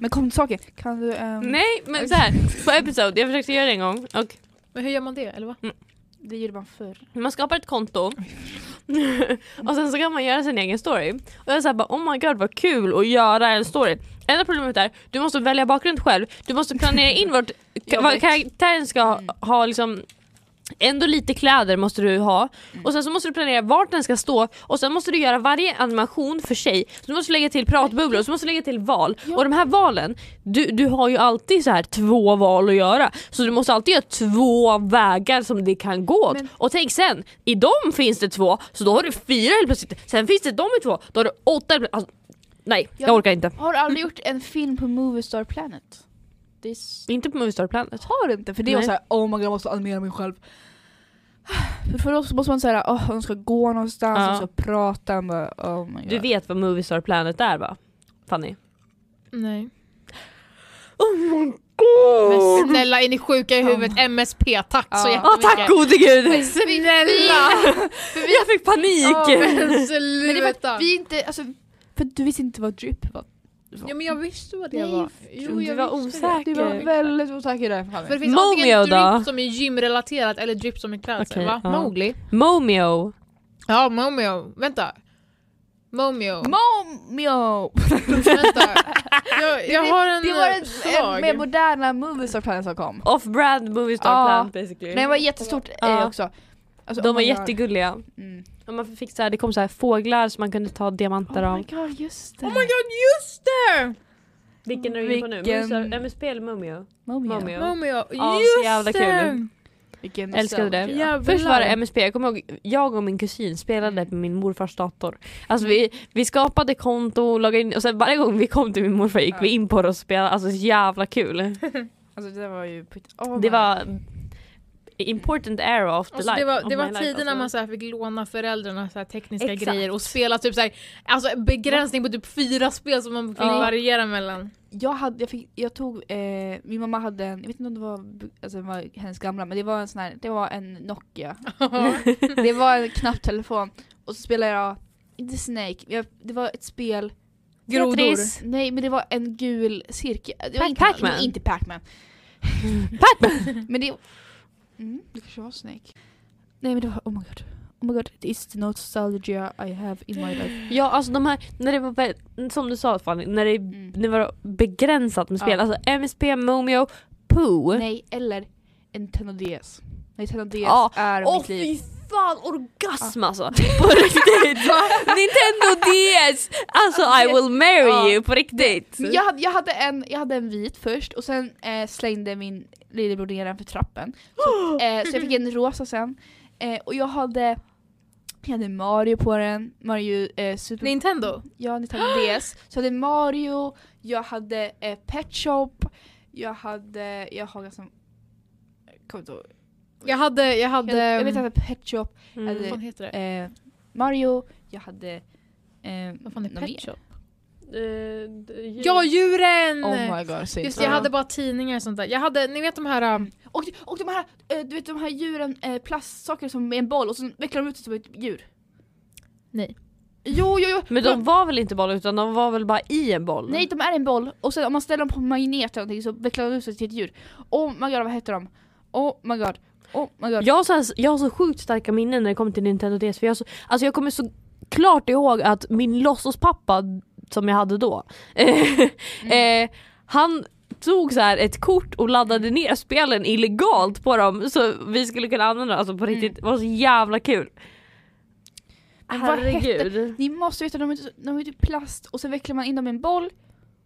[SPEAKER 4] men kom till saken. Kan du... ehm,
[SPEAKER 2] nej men så här, på episode, jag försökte göra det en gång och
[SPEAKER 1] Men hur gör man det? Eller vad?
[SPEAKER 4] Det gjorde man förr.
[SPEAKER 2] man skapar ett konto och sen så kan man göra sin egen story. Och jag är så här, bara oh my god vad kul att göra en story. Enda problemet är, du måste välja bakgrund själv, du måste planera in vart,
[SPEAKER 4] Jag
[SPEAKER 2] vad
[SPEAKER 4] vet.
[SPEAKER 2] karaktären ska ha,
[SPEAKER 4] Mm.
[SPEAKER 2] ha liksom Ändå lite kläder måste du ha och sen så måste du planera vart den ska stå och sen måste du göra varje animation för sig. Så du måste lägga till pratbubblor, så måste du lägga till val. Och de här valen, du, du har ju alltid så här två val att göra. Så du måste alltid göra två vägar som det kan gå åt.
[SPEAKER 4] Men-
[SPEAKER 2] Och tänk sen, i dem finns det två, så då har du fyra helt plötsligt. Sen finns det dem i två, då har du åtta helt plötsligt. Alltså, nej, jag
[SPEAKER 4] Ja.
[SPEAKER 2] orkar inte.
[SPEAKER 4] Har du aldrig gjort en film på Movie Star Planet? Det är s-
[SPEAKER 2] Inte på Movie Star Planet.
[SPEAKER 4] har du inte? För det var
[SPEAKER 2] Nej.
[SPEAKER 4] såhär, oh my god jag måste animera mig själv. För, för då så måste man säga, åh de ska gå någonstans,
[SPEAKER 2] Ja.
[SPEAKER 4] de ska prata, man bara, oh my god.
[SPEAKER 2] Du vet vad Movie Star Planet är va? Fanny?
[SPEAKER 1] Nej.
[SPEAKER 2] Oh my
[SPEAKER 1] Men snälla, är ni sjuka i huvudet? MSP, tack så
[SPEAKER 4] Ja.
[SPEAKER 2] Ja,
[SPEAKER 1] jättemycket.
[SPEAKER 2] tack gode gud!
[SPEAKER 1] Men snälla!
[SPEAKER 2] Jag fick
[SPEAKER 1] Ja,
[SPEAKER 2] panik!
[SPEAKER 1] men
[SPEAKER 4] Men det är för
[SPEAKER 1] sluta!
[SPEAKER 4] att vi inte, alltså, för du visste inte vad drip var.
[SPEAKER 1] Ja, men jag visste vad det
[SPEAKER 4] Nej,
[SPEAKER 1] var.
[SPEAKER 4] för-
[SPEAKER 1] Jo,
[SPEAKER 2] du
[SPEAKER 1] jag
[SPEAKER 2] var
[SPEAKER 1] visste det.
[SPEAKER 2] osäker.
[SPEAKER 4] Du var väldigt osäker där Fanny.
[SPEAKER 1] För det finns
[SPEAKER 2] Momio
[SPEAKER 1] antingen
[SPEAKER 2] då?
[SPEAKER 1] drip som är gymrelaterat eller drip som är klädsel,
[SPEAKER 2] Okej,
[SPEAKER 1] va?
[SPEAKER 2] ja.
[SPEAKER 1] Mowgli?
[SPEAKER 2] Momio.
[SPEAKER 1] Ja, Momio. Vänta. Momio.
[SPEAKER 4] Momio!
[SPEAKER 1] Vänta. Jag, jag har en
[SPEAKER 4] Det var en, eh, en
[SPEAKER 1] svag.
[SPEAKER 4] mer moderna Movie Star Planet som kom.
[SPEAKER 2] Off-brand Movie Star
[SPEAKER 4] Ja.
[SPEAKER 2] Planet basically.
[SPEAKER 4] Den var jättestort
[SPEAKER 2] Ja.
[SPEAKER 4] eh, också. Alltså,
[SPEAKER 2] De
[SPEAKER 4] oh
[SPEAKER 2] var
[SPEAKER 4] my god.
[SPEAKER 2] jättegulliga.
[SPEAKER 4] Mm.
[SPEAKER 2] Och man fick så här, det kom så här fåglar som man kunde ta diamanter
[SPEAKER 4] Oh
[SPEAKER 2] av.
[SPEAKER 4] my god, just det.
[SPEAKER 1] Oh my god, just det!
[SPEAKER 2] Vilken är du inne på nu?
[SPEAKER 4] Vilken-
[SPEAKER 2] Vilken... MSP eller Mumio?
[SPEAKER 4] Momio.
[SPEAKER 2] Momio.
[SPEAKER 1] Momio,
[SPEAKER 2] Ja, så
[SPEAKER 1] just
[SPEAKER 2] jävla kul.
[SPEAKER 1] det!
[SPEAKER 4] Vilken
[SPEAKER 2] Älskade det.
[SPEAKER 4] nostalgi.
[SPEAKER 1] Jävlar.
[SPEAKER 2] Först var det MSP, jag kommer ihåg, jag och min kusin spelade på min morfars dator. Alltså vi, vi skapade konto, loggade in och sen varje gång vi kom till min morfar gick
[SPEAKER 4] Ja.
[SPEAKER 2] vi in på det och spelade. Alltså så jävla kul.
[SPEAKER 4] Alltså det där var ju... på- Oh
[SPEAKER 2] Det
[SPEAKER 4] my
[SPEAKER 2] var important era of the
[SPEAKER 1] Alltså,
[SPEAKER 2] life.
[SPEAKER 1] det var,
[SPEAKER 2] of
[SPEAKER 1] det
[SPEAKER 2] my
[SPEAKER 1] var
[SPEAKER 2] life,
[SPEAKER 1] tider när
[SPEAKER 2] alltså.
[SPEAKER 1] man så här fick låna föräldrarna så här tekniska
[SPEAKER 2] Exakt.
[SPEAKER 1] grejer och spela typ så här, alltså en begränsning på typ fyra spel som man fick
[SPEAKER 2] Ja.
[SPEAKER 1] variera mellan.
[SPEAKER 4] jag hade, jag, fick, jag tog, eh, min mamma hade en, jag vet inte om det var, bu- alltså, det var hennes gamla, men det var en sån här, det var en Nokia. det var en knapptelefon. Och så spelade jag, inte Snake, jag, det var ett spel,
[SPEAKER 1] Grodor.
[SPEAKER 2] Tetris.
[SPEAKER 4] nej men det var en gul cirkel. Det var
[SPEAKER 2] Pac-
[SPEAKER 4] inte-
[SPEAKER 2] Pac-Man.
[SPEAKER 4] nej, Inte Pac-Man. Pac-Man! men det, mm, det kanske var Snake. Nej men det var, oh my god. Oh my god, it's the nostalgia I have in my life.
[SPEAKER 2] Ja alltså de här, när det var, vä- som du sa Fanny, när det,
[SPEAKER 4] Mm.
[SPEAKER 2] det var begränsat med spel.
[SPEAKER 4] Ja.
[SPEAKER 2] Alltså MSP, Mumio, Pooh.
[SPEAKER 4] Nej, eller en Nintendo DS. Nintendo DS
[SPEAKER 2] Ja,
[SPEAKER 4] är
[SPEAKER 2] Åh
[SPEAKER 4] mitt liv.
[SPEAKER 2] fy fan orgasm alltså! På riktigt! Nintendo DS! Alltså I will marry
[SPEAKER 4] Ja.
[SPEAKER 2] you på riktigt!
[SPEAKER 4] Men jag, hade, jag, hade en, jag hade en vit först och sen eh, slängde min lillebror ner den för trappen. Så, eh, så jag fick en rosa sen. Eh, och jag hade, jag hade Mario på den, Mario eh, Super...
[SPEAKER 1] Nintendo.
[SPEAKER 4] ja, Nintendo DS. Så jag hade Mario, jag hade eh, Pet Shop, jag hade, jag har ganska Kommer inte ihåg.
[SPEAKER 1] Jag hade, jag
[SPEAKER 4] Jag,
[SPEAKER 1] hade... mm,
[SPEAKER 4] jag vet att jag hade Pet Shop,
[SPEAKER 1] Vad
[SPEAKER 2] Mm.
[SPEAKER 1] fan heter det?
[SPEAKER 4] eh, Mario, jag hade... Eh,
[SPEAKER 1] Vad fan är
[SPEAKER 4] något mer.
[SPEAKER 1] Pet Shop?
[SPEAKER 2] Eh, d-
[SPEAKER 1] Ja, djuren!
[SPEAKER 5] Oh my god, synd.
[SPEAKER 1] Just det, jag
[SPEAKER 2] Ja.
[SPEAKER 1] hade bara tidningar och sånt där. Jag hade, ni vet de här... um,
[SPEAKER 4] Och, och de här, eh, du vet de här djuren, eh, plastsaker som är en boll och så vecklar de ut sig som ett djur.
[SPEAKER 1] Nej.
[SPEAKER 4] Jo, jo, jo!
[SPEAKER 2] Men de var väl inte boll utan de var väl bara i en boll?
[SPEAKER 4] Nej, de är en boll och sen om man ställer dem på magnet eller någonting så vecklar de ut sig till ett djur. Oh my god, vad heter de? Oh my god. Oh my god.
[SPEAKER 2] Jag har, så här, jag har så sjukt starka minnen när det kommer till Nintendo DS. För jag, har så, alltså jag kommer så klart ihåg att min låtsaspappa som jag hade då,
[SPEAKER 4] Mm.
[SPEAKER 2] eh, han tog så här ett kort och laddade ner spelen illegalt på dem så vi skulle kunna använda dem
[SPEAKER 4] Mm.
[SPEAKER 2] alltså på riktigt. Det var så jävla kul.
[SPEAKER 4] Men vad Ni måste veta, de är, inte- de är typ plast och sen vecklar man in dem i en boll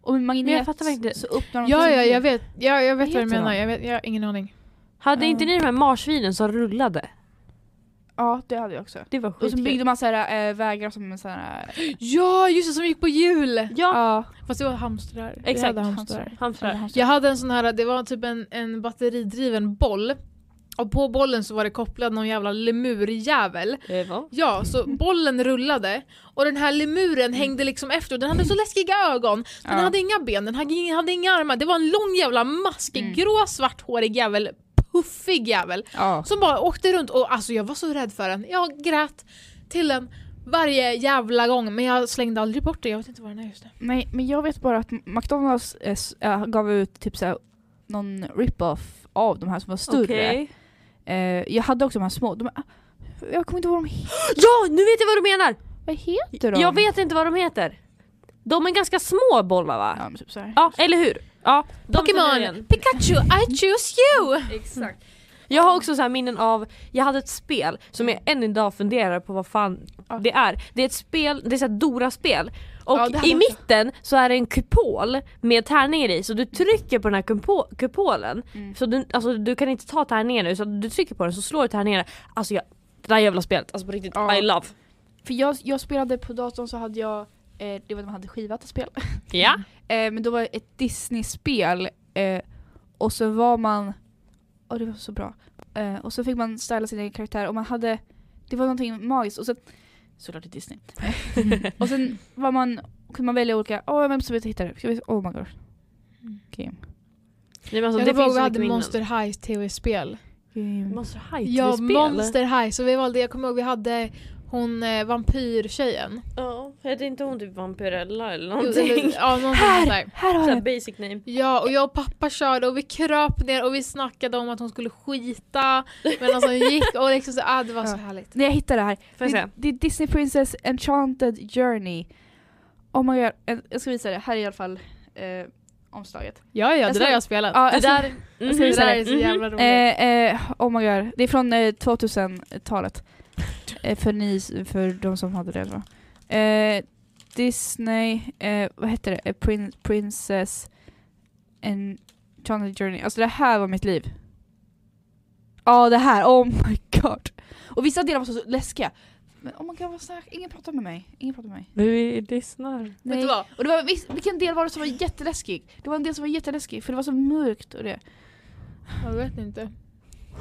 [SPEAKER 4] och med magnet
[SPEAKER 2] Men jag fattar verkligen.
[SPEAKER 4] så öppnar de
[SPEAKER 1] Ja,
[SPEAKER 4] sig.
[SPEAKER 1] ja, jag vet, ja, jag vet
[SPEAKER 2] Vad
[SPEAKER 1] vad du
[SPEAKER 2] heter
[SPEAKER 1] menar.
[SPEAKER 2] de?
[SPEAKER 1] Jag, vet, jag har ingen aning.
[SPEAKER 2] Hade inte ni de här marsvinen som rullade?
[SPEAKER 4] Ja, det hade jag också.
[SPEAKER 2] Det var
[SPEAKER 4] Och så
[SPEAKER 2] skitkul.
[SPEAKER 4] byggde man så här, eh, vägar som en sån här... eh,
[SPEAKER 1] Ja, just det, som gick på jul!
[SPEAKER 2] Ja,
[SPEAKER 4] Ja,
[SPEAKER 1] Fast det var hamstrar. Vi
[SPEAKER 2] Exakt,
[SPEAKER 1] hade hamstrar.
[SPEAKER 4] hamstrar.
[SPEAKER 2] hamstrar.
[SPEAKER 1] Jag hade en sån här, det var typ en, en batteridriven boll. Och på bollen så var det kopplad någon jävla lemurjävel.
[SPEAKER 2] Eh, va?
[SPEAKER 1] Ja, så bollen rullade och den här lemuren hängde liksom efter och den hade så läskiga ögon. Den
[SPEAKER 4] Ja.
[SPEAKER 1] hade inga ben, den hade inga, hade inga armar. Det var en lång jävla maskig,
[SPEAKER 4] Mm.
[SPEAKER 1] grå, svarthårig jävel. Puffig jävel.
[SPEAKER 4] ja.
[SPEAKER 1] Som bara åkte runt och alltså jag var så rädd för den. Jag grät till den varje jävla gång men jag slängde aldrig bort den. Jag vet inte var den är just nu.
[SPEAKER 4] Nej, men jag vet bara att McDonalds eh, s- eh, gav ut typ så här, någon rip-off av de här som var större.
[SPEAKER 2] Okej.
[SPEAKER 4] Eh, jag hade också de här små. De, ah, jag kommer inte ihåg vad de heter.
[SPEAKER 2] Ja, nu vet jag vad du menar!
[SPEAKER 4] Vad heter de?
[SPEAKER 2] Jag vet inte vad de heter. De är ganska små bollar va? Ja,
[SPEAKER 4] Ja, men typ så här.
[SPEAKER 2] eller hur? Ja, de känner jag
[SPEAKER 1] Pokémon!
[SPEAKER 2] igen.
[SPEAKER 1] Pikachu, I choose you!
[SPEAKER 2] Exakt. Jag har också så här minnen av, jag hade ett spel som jag än idag funderar på vad fan det är. Det är ett spel, det är så här Dora-spel. Och
[SPEAKER 1] Ja, det hade
[SPEAKER 2] i
[SPEAKER 1] jag
[SPEAKER 2] mitten så är det en kupol med tärningar i så du trycker på den här kupo- kupolen.
[SPEAKER 4] Mm.
[SPEAKER 2] Så du, alltså, du kan inte ta tärningar nu så du trycker på den så slår du tärningarna. Alltså jag, det där jävla spelet, alltså på riktigt,
[SPEAKER 4] Ja.
[SPEAKER 2] I love.
[SPEAKER 4] För jag, jag spelade på datorn så hade jag, eh, det var när man hade skivat ett spel.
[SPEAKER 2] Ja.
[SPEAKER 4] Eh, men då var det ett Disney-spel eh, och så var man... Åh det var så bra. Eh, och så fick man styla sin egen karaktär och man hade... Det var någonting magiskt och så... Såklart det är Disney.
[SPEAKER 1] Mm.
[SPEAKER 4] och sen var man, kunde man välja olika... Åh vem som vill hitta det? Ska vi- Oh my god. Game.
[SPEAKER 2] Nej, men alltså,
[SPEAKER 1] jag
[SPEAKER 2] det
[SPEAKER 1] kommer ihåg
[SPEAKER 2] finns
[SPEAKER 1] vi
[SPEAKER 2] så
[SPEAKER 1] hade
[SPEAKER 2] mycket minnen.
[SPEAKER 1] Monster High tv-spel.
[SPEAKER 4] Game.
[SPEAKER 2] Monster High
[SPEAKER 1] Ja,
[SPEAKER 2] TV-spel.
[SPEAKER 1] Monster High. Så vi valde, jag kommer ihåg vi hade hon eh, vampyrtjejen.
[SPEAKER 2] Ja, hette inte hon typ Vampirella eller
[SPEAKER 1] Jo,
[SPEAKER 2] någonting?
[SPEAKER 1] eller- Ja, någonting sånt där.
[SPEAKER 4] Här! Här har
[SPEAKER 2] Såhär
[SPEAKER 4] jag
[SPEAKER 2] basic name.
[SPEAKER 1] Ja, och jag och pappa körde och vi kröp ner och vi snackade om att hon skulle skita medan hon gick och liksom så, Mm, ah, det var så
[SPEAKER 4] Ja.
[SPEAKER 1] härligt.
[SPEAKER 4] Nej jag hittade det här.
[SPEAKER 2] Får jag
[SPEAKER 4] det,
[SPEAKER 2] se?
[SPEAKER 4] det är Disney Princess Enchanted Journey. Oh my god. Jag- Jag ska visa det. Här är i alla fall eh, omslaget.
[SPEAKER 1] Ja, Alltså, ja,
[SPEAKER 4] det där har jag
[SPEAKER 1] spelat.
[SPEAKER 4] Ja,
[SPEAKER 2] Det
[SPEAKER 4] jag ska-
[SPEAKER 2] där,
[SPEAKER 4] jag ska
[SPEAKER 1] Det
[SPEAKER 4] visa
[SPEAKER 1] där är så
[SPEAKER 2] Mhm.
[SPEAKER 1] jävla roligt.
[SPEAKER 4] Eh, eh, oh my god. Det är från eh, 2000-talet. Eh, för, ni, för de som hade det. då. Eh, Disney, eh, vad heter det? Eh, Prin- Princess and Enchanted Journey. Alltså det här var mitt liv. Ja det här, oh my god. Och vissa delar var så så läskiga. Men oh my god vad snack, ingen pratar med mig. Ingen pratar med mig.
[SPEAKER 2] Vi lyssnar.
[SPEAKER 1] Vet du
[SPEAKER 4] Nej.
[SPEAKER 1] vad?
[SPEAKER 4] Och det var, viss- vilken del var det som var jätteläskig? Det var en del som var jätteläskig för det var så mörkt och det.
[SPEAKER 1] Jag vet inte.